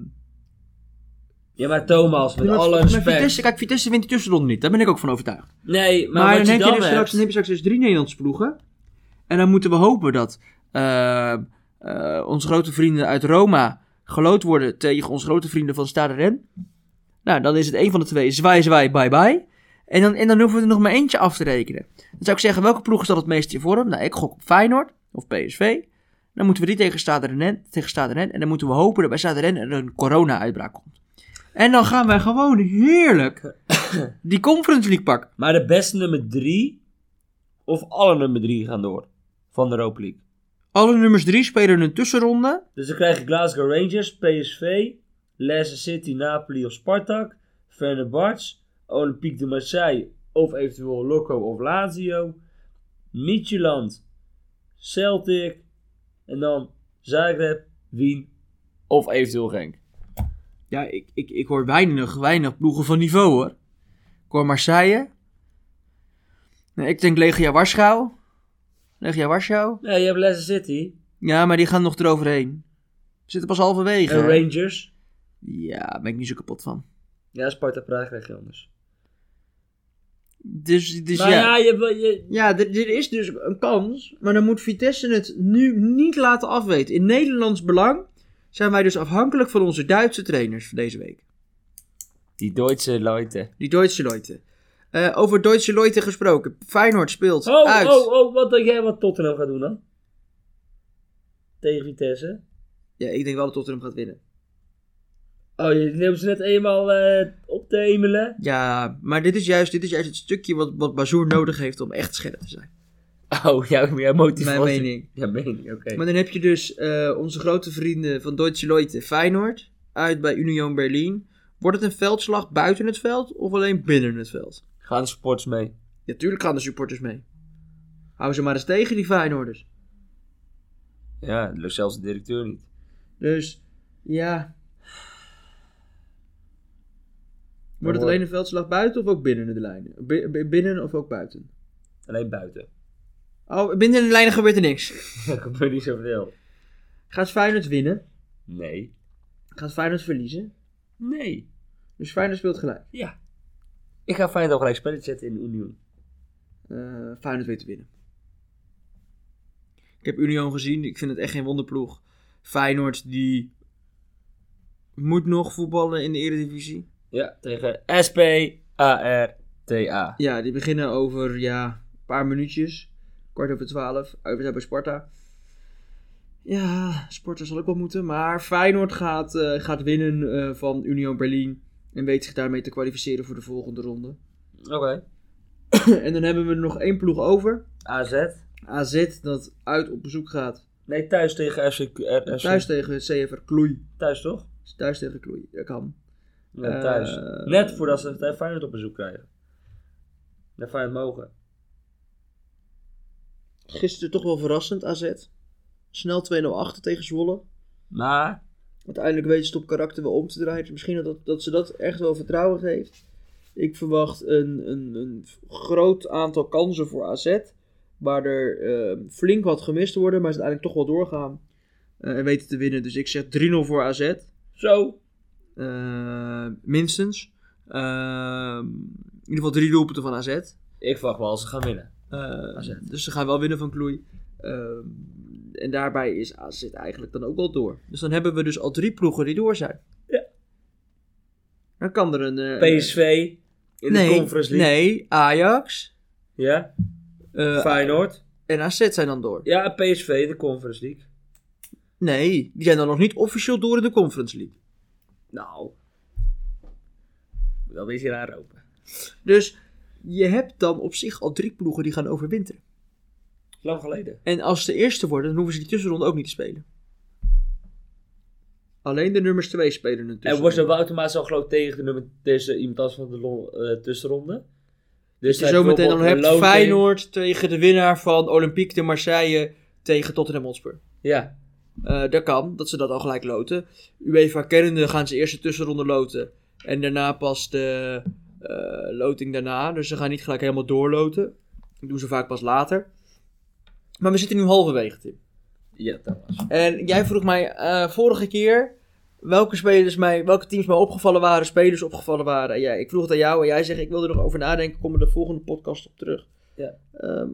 Ja, maar Thomas, met maar- alle maar respect. Vitesse, kijk, Vitesse wint de tussenronde niet. Daar ben ik ook van overtuigd. Nee, maar, Maar, dan, wat je heb dan je dus hebt- straks, dan heb je straks dus drie Nederlandse ploegen. En dan moeten we hopen dat eh, eh, onze grote vrienden uit Roma geloot worden tegen onze grote vrienden van Stade Rennes. Nou, dan is het één van de twee zwaai, zwaai, bye, bye. En dan, en dan hoeven we er nog maar eentje af te rekenen. Dan zou ik zeggen, welke ploeg is dat het meest in vorm? Nou, ik gok op Feyenoord of PSV. Dan moeten we die tegen Stade Rennes, tegen Stade Rennes. En dan moeten we hopen dat bij Stade Rennes er een corona-uitbraak komt. En dan gaan wij gewoon heerlijk die Conference League pakken. Maar de beste nummer 3 of alle nummer 3 gaan door van de Europa League. Alle nummers 3 spelen een tussenronde. Dus dan krijg je Glasgow Rangers, PSV, Leicester City, Napoli of Spartak, Fenerbahce, Olympique de Marseille of eventueel Loco of Lazio, Midtjylland, Celtic en dan Zagreb, Wien of eventueel Genk. Ja, ik, ik, ik hoor weinig, weinig ploegen van niveau hoor. Ik hoor Marseille. Nee, ik denk Legia Warschau. Legia Warschau. Nee, je hebt Leicester City Ja, maar die gaan nog eroverheen. We zitten pas halverwege. en hè? Rangers. Ja, daar ben ik niet zo kapot van. Ja, Sparta Praag krijg je anders. Dus, dus maar ja, ja. je, hebt wel- je, Ja, er, er is dus een kans. Maar dan moet Vitesse het nu niet laten afweten. In Nederlands belang zijn wij dus afhankelijk van onze Duitse trainers voor deze week. die Duitse Leute. Die Duitse Leute. Eh, over Duitse Leute gesproken. Feyenoord speelt Oh, uit. oh, oh, wat denk jij wat Tottenham gaat doen dan? Tegen Vitesse. Ja, ik denk wel dat Tottenham gaat winnen. Oh, je neemt ze net eenmaal eh, op te hemelen. Ja, maar dit is juist, dit is juist het stukje wat, wat Bazoer nodig heeft om echt scherp te zijn. Oh, jouw ja, Mijn mening. Ja, mening, oké. Maar dan heb je dus eh, onze grote vrienden van Duitse Leute Feyenoord. Uit bij Union Berlin. Wordt het een veldslag buiten het veld of alleen binnen het veld? Gaan sports mee. Ja, tuurlijk gaan de supporters mee. Hou ze maar eens tegen, die Feyenoorders. Ja, dat lukt zelfs de directeur niet. Dus, ja. Wordt het Mooi. alleen een veldslag buiten of ook binnen de lijnen? Bi- bi- binnen of ook buiten? Alleen buiten. Oh, binnen de lijnen gebeurt er niks. Dat gebeurt niet zoveel. Gaat Feyenoord winnen? Nee. Gaat Feyenoord verliezen? Nee. Dus Feyenoord speelt gelijk. Ja. Ik ga Feyenoord gelijk spelletje zetten in Union. Eh Feyenoord weet te winnen. Ik heb Union gezien. Ik vind het echt geen wonderploeg. Feyenoord die moet nog voetballen in de Eredivisie. Ja, tegen S-P-A-R-T-A. Ja, die beginnen over ja, een paar minuutjes. Kwart over twaalf. Uitwedstrijd bij Sparta. Ja, Sparta zal ook wel moeten. Maar Feyenoord gaat, eh, gaat winnen eh, van Union Berlin. En weet zich daarmee te kwalificeren voor de volgende ronde. Oké. en dan hebben we er nog één ploeg over. AZ. AZ dat uit op bezoek gaat. Nee, thuis tegen FC... eh, FC. Thuis tegen CFR Kloei. Thuis, toch? Thuis tegen Kloei. Dat kan. Ja, thuis. Eh, Net voordat ze het Feyenoord op bezoek krijgen. Naar Feyenoord mogen. Gisteren toch wel verrassend AZ. Snel 2-0 achter tegen Zwolle. Maar... Uiteindelijk weten ze het op karakter wel om te draaien. Misschien dat, dat ze dat echt wel vertrouwen geeft. Ik verwacht een, een, een groot aantal kansen voor AZ. Waar er eh, flink wat gemist worden, maar ze uiteindelijk toch wel doorgaan. eh, en weten te winnen. Dus ik zeg 3-0 voor AZ. Zo. Eh, minstens. Eh, in ieder geval drie doelpunten van AZ. Ik verwacht wel als ze gaan winnen. Eh, AZ. Dus ze gaan wel winnen van Kloei. Ehm, en daarbij is AZ eigenlijk dan ook wel door. Dus dan hebben we dus al drie ploegen die door zijn. Ja. Dan kan er een... eh, PSV. In nee, de Conference League. Nee, Ajax Ja. eh, Feyenoord. en AZ zijn dan door. Ja, en PSV in de Conference League. Nee, die zijn dan nog niet officieel door in de Conference League. Nou. Dan is je raar open. Dus je hebt dan op zich al drie ploegen die gaan overwinteren. Lang geleden. En als ze de eerste worden, dan hoeven ze die tussenronde ook niet te spelen. Alleen de nummers 2 spelen natuurlijk. En wordt er wel automatisch al groot tegen de nummer tussen iemand anders van de lon- eh, tussenronde. Dus Dus je zij zometeen dan bijvoorbeeld hebt een loting- Feyenoord tegen de winnaar van Olympique de Marseille tegen Tottenham Hotspur. Ja, Eh, dat kan, dat ze dat al gelijk loten. UEFA kennende gaan ze eerst de tussenronde loten. En daarna pas de eh, loting daarna. Dus ze gaan niet gelijk helemaal doorloten. Dat doen ze vaak pas later. Maar we zitten nu halverwege, Tim. ja dat was. En jij vroeg mij eh, vorige keer welke, spelers mij, welke teams mij opgevallen waren, spelers opgevallen waren. En jij- ik vroeg het aan jou en jij zegt ik wil er nog over nadenken, kom er de volgende podcast op terug. Ja. Ehm,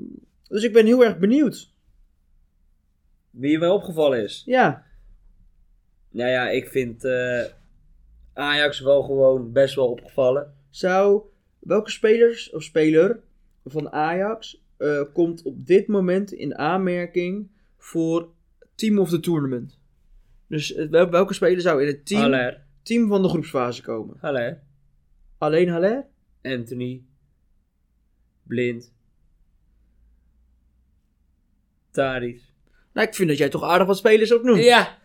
dus ik ben heel erg benieuwd. Wie mij opgevallen is. Ja, Nou ja, ik vind eh, Ajax wel gewoon best wel opgevallen. zou welke spelers of speler van Ajax eh, komt op dit moment in aanmerking voor Team of the Tournament? Dus eh, wel- welke speler zou in het team, Haller. team van de groepsfase komen? Haller. Alleen Haller? Anthony. Blind. Tariq. Nou, ik vind dat jij toch aardig wat spelers opnoemt. Ja,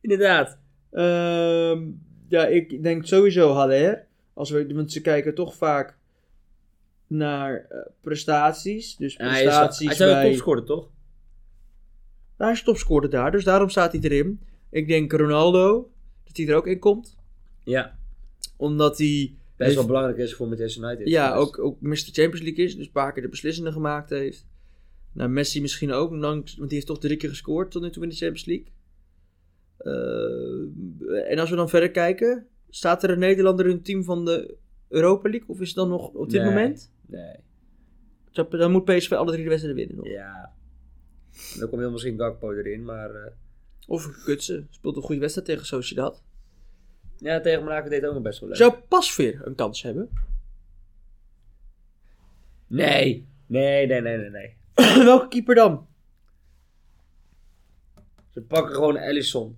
inderdaad. Ehm, ja, ik denk sowieso Haller. Als we, want ze kijken toch vaak naar eh, prestaties. Dus En hij is, hij prestaties is bij... wel topscorer, toch? Nou, hij is topscorer daar, dus daarom staat hij erin. Ik denk Ronaldo, dat hij er ook in komt. Ja. Omdat hij Best wel Heeft- belangrijk is voor Manchester United. ja, Dus- ook, ook Mr. Champions League is, dus een paar keer de beslissende gemaakt heeft. Nou, Messi misschien ook, langs- want die heeft toch drie keer gescoord tot nu toe in de Champions League. Eh, en als we dan verder kijken, staat er een Nederlander in het team van de Europa League? Of is het dan nog op dit Nee. moment? Nee. Dan- Dan moet PSV alle drie de wedstrijden winnen. nog. Ja. Dan komt heel misschien Gakpo erin, maar... eh, Of Kutsen, speelt een goede wedstrijd tegen Sociedad. ja, tegen Monaco deed het ook nog best wel leuk. Zou Pasveer een kans hebben? Nee. Nee, nee, nee, nee, nee. Welke keeper dan? Ze pakken gewoon Ellison.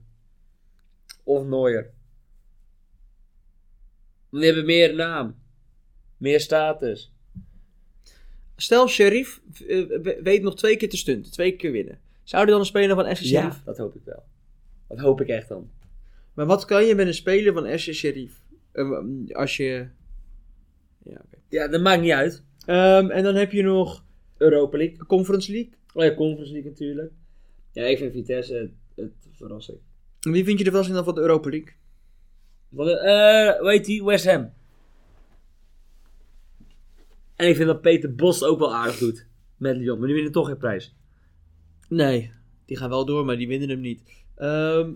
Of Neuer. Die hebben meer naam. Meer status. Stel, Sheriff eh, we- weet nog twee keer te stunten, twee keer winnen. Zou die dan een speler van SC Sheriff? Dat hoop ik wel. Dat hoop ik echt dan. Maar wat kan je met een speler van SC Sheriff? Eh, als je... Ja, oké. Ja, dat maakt niet uit. Ehm, en dan heb je nog Europa League. Conference League. Oh ja, Conference League natuurlijk. Ja, ik vind Vitesse het, het verrassing. En Wie vind je de verrassing dan van de Europa League? Wat, eh, hoe heet die? West Ham. En ik vind dat Peter Bos ook wel aardig doet. Met Lyon. Maar nu winnen toch geen prijs. Nee, die gaan wel door, maar die winnen hem niet. Ehm,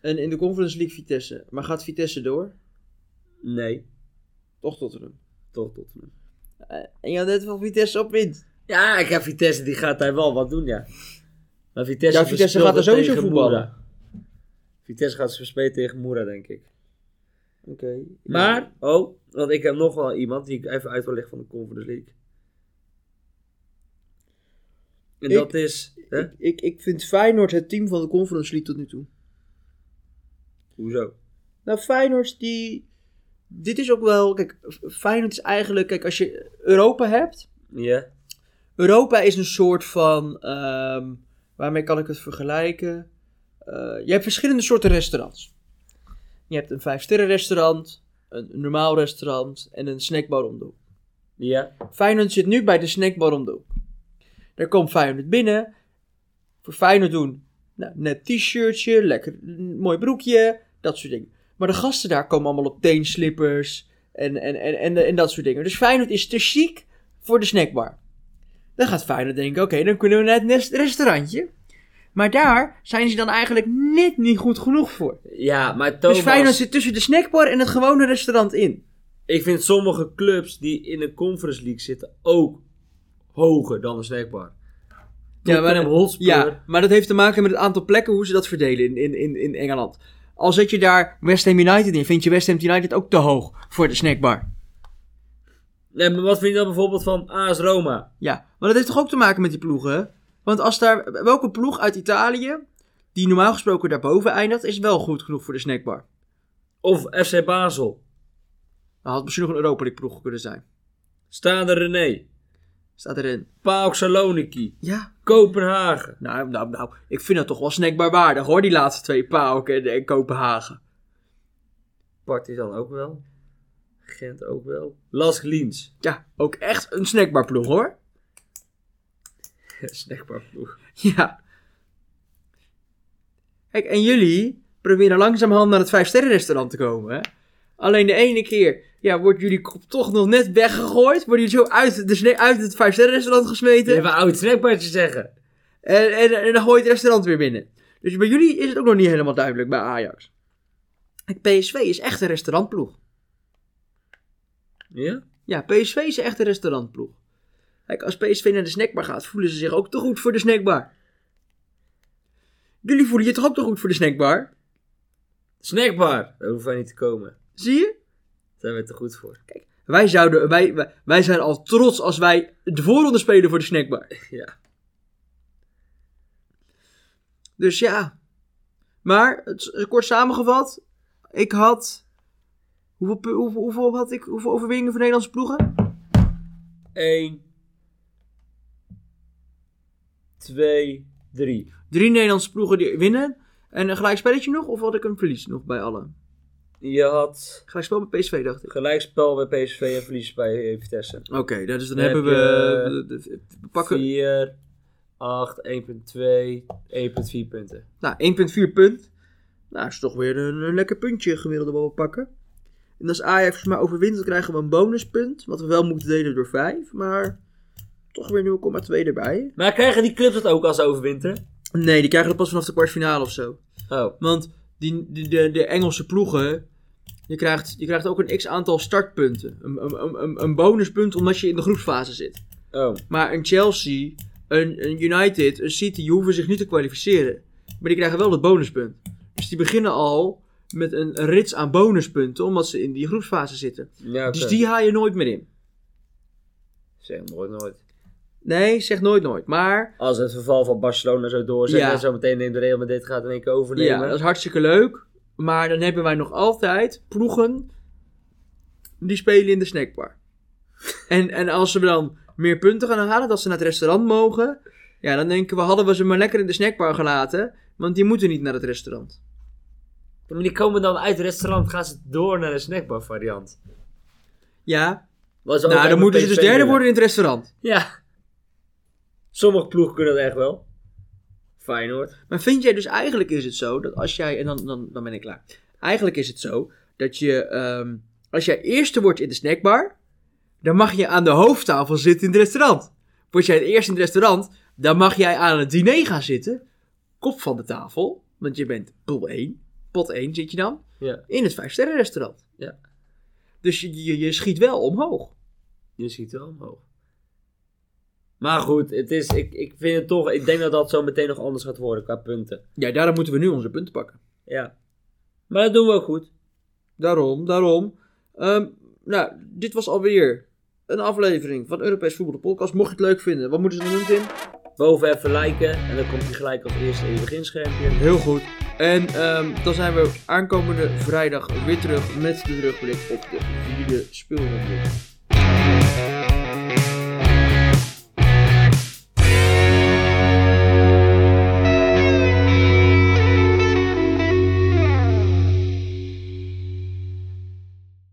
en in de Conference League Vitesse. Maar gaat Vitesse door? Nee. Toch Tottenham. Toch Tottenham. En je had net van Vitesse op wint. Ja, ik heb Vitesse. Die gaat daar wel wat doen, ja. Maar Vitesse, Ja, Vitesse verspeelt gaat er het sowieso tegen voetballen. Moura. Vitesse gaat ze verspelen tegen Moera, denk ik. Oké. Maar, oh, want ik heb nog wel iemand die ik even uit wil leggen van de Conference League. En Ik- dat is... Hè? Ik, ik, ik vind Feyenoord het team van de Conference League tot nu toe. Hoezo? Nou, Feyenoord die... Dit is ook wel... Kijk, Feyenoord is eigenlijk... Kijk, als je Europa hebt... Ja. Europa is een soort van. ehm, waarmee kan ik het vergelijken? Eh, je hebt verschillende soorten restaurants. Je hebt een vijfsterren restaurant, een normaal restaurant en een snackbar om de hoek. Ja. Feyenoord zit nu bij de snackbar om de hoek. Daar komt Feyenoord binnen. Voor Feyenoord doen, nou, net t-shirtje, lekker een mooi broekje, dat soort dingen. Maar de gasten daar komen allemaal op teenslippers en, en, en, en, en dat soort dingen. Dus Feyenoord is te chic voor de snackbar. Dan gaat Feyenoord denken, oké, dan kunnen we naar het nest- restaurantje. Maar daar zijn ze dan eigenlijk net niet goed genoeg voor. Ja, maar Thomas... Dus Feyenoord zit tussen de snackbar en het gewone restaurant in. Ik vind sommige clubs die in de Conference League zitten ook hoger dan de snackbar. Ja, maar- Tottenham Hotspur. Ja, maar dat heeft te maken met het aantal plekken hoe ze dat verdelen in, in, in, in Engeland. Al zet je daar West Ham United in, vind je West Ham United ook te hoog voor de snackbar. Nee, maar wat vind je dan bijvoorbeeld van AS Roma? Ja, maar dat heeft toch ook te maken met die ploegen? hè? Want als daar, welke ploeg uit Italië, die normaal gesproken daarboven eindigt, is wel goed genoeg voor de snackbar? Of FC Basel? Dan had misschien nog een Europa League ploeg kunnen zijn. Stade René? Staat erin. PAOK Saloniki? Ja. Kopenhagen? Nou, nou, nou, ik vind dat toch wel snackbar waardig hoor, die laatste twee Pauk en, en Kopenhagen. Partizan ook wel? Gent ook wel? Las Liens? Ja, ook echt een snackbar ploeg hoor. snackbar ploeg. Ja. Kijk, en jullie proberen langzamerhand naar het vijfsterrenrestaurant te komen. Hè? Alleen de ene keer ja, wordt jullie kop toch nog net weggegooid. Worden jullie zo uit, de sne- uit het vijfsterrenrestaurant Je gesmeten. hebt een oud snackbartje zeggen. En, en, en dan gooi je het restaurant weer binnen. Dus bij jullie is het ook nog niet helemaal duidelijk bij Ajax. Kijk, PSV is echt een restaurantploeg. Ja? Ja, PSV is echt een restaurantploeg. Kijk, als PSV naar de snackbar gaat, voelen ze zich ook te goed voor de snackbar. Jullie voelen je toch ook te goed voor de snackbar? Snackbar! Daar hoeven wij niet te komen. Zie je? Daar zijn we te goed voor. Wij, zouden, wij, wij, wij zijn al trots als wij de voorronde spelen voor de snackbar. Ja. Dus ja. Maar, het is- kort samengevat. Ik had... Hoeveel, pu- hoeveel, hoeveel had ik? Hoeveel overwinningen voor Nederlandse ploegen? 1, 2, 3. Drie Nederlandse ploegen die winnen. En een gelijkspelletje nog? Of had ik een verlies nog bij alle? Je had Gelijkspel bij PSV dacht ik. gelijkspel bij PSV en verlies bij eh, Vitesse. Oké, nou, dus dan Dan hebben heb we... je- de- de- we pakken, 4, 8, 1.2, 1.4 punten. nou, 1.4 punt. Nou, is toch weer een, een lekker puntje gemiddelde wat we pakken. En als Ajax volgens mij overwint, dan krijgen we een bonuspunt. Wat we wel moeten delen door 5, maar... Toch weer 0,2 erbij. Maar krijgen die clubs dat ook als ze overwinteren? Nee, die krijgen dat pas vanaf de kwartfinale of zo. Oh, Want die, die- de, de Engelse ploegen, je krijgt, je krijgt ook een x-aantal startpunten. Een, een, een- een, een bonuspunt omdat je in de groepsfase zit. oh. Maar een Chelsea, een, een United, een City, die hoeven zich niet te kwalificeren. Maar die krijgen wel dat bonuspunt. Dus die beginnen al met een rits aan bonuspunten, omdat ze in die groepsfase zitten. Ja, oké. Dus die haal je nooit meer in. Zeg nooit, nooit. Nee, zeg nooit nooit. Maar Als het verval van Barcelona zo doorzet Ja. en zo meteen neemt de Real Madrid gaat in één keer ja, overnemen. dat is hartstikke leuk. Maar dan hebben wij nog altijd ploegen die spelen in de snackbar. En, en als ze dan meer punten gaan halen, dat ze naar het restaurant mogen. Ja, dan denken we, hadden we ze maar lekker in de snackbar gelaten. Want die moeten niet naar het restaurant. Ja, Maar die komen dan uit het restaurant, gaan ze door naar de snackbar variant. Ja, Wat ze ook nou dan eigenlijk moeten ze PSV dus derde willen. worden in het restaurant. Ja. Sommige ploegen kunnen dat echt wel. Feyenoord. Maar vind jij dus eigenlijk is het zo dat als jij, en dan, dan, dan ben ik klaar. Eigenlijk is het zo dat je, ehm, als jij eerste wordt in de snackbar, dan mag je aan de hoofdtafel zitten in het restaurant. Word jij het eerste in het restaurant, dan mag jij aan het diner gaan zitten, kop van de tafel, want je bent pool 1, pot 1 zit je dan, Ja. in het vijfsterren restaurant. Ja. Dus je, je, je schiet wel omhoog. Je ziet wel omhoog. Maar goed, het is, ik, ik vind het toch, ik denk dat dat zo meteen nog anders gaat worden qua punten. Ja, daarom moeten we nu onze punten pakken. Ja. Maar dat doen we ook goed. Daarom, daarom. Ehm, nou, dit was alweer een aflevering van Europees Voetbal de Podcast. Mocht je het leuk vinden, wat moeten ze dan doen, Tim? Boven even liken en dan komt hij gelijk als eerste in je beginschermpje. Heel goed. En ehm, dan zijn we aankomende vrijdag weer terug met de terugblik op de vierde speelronde.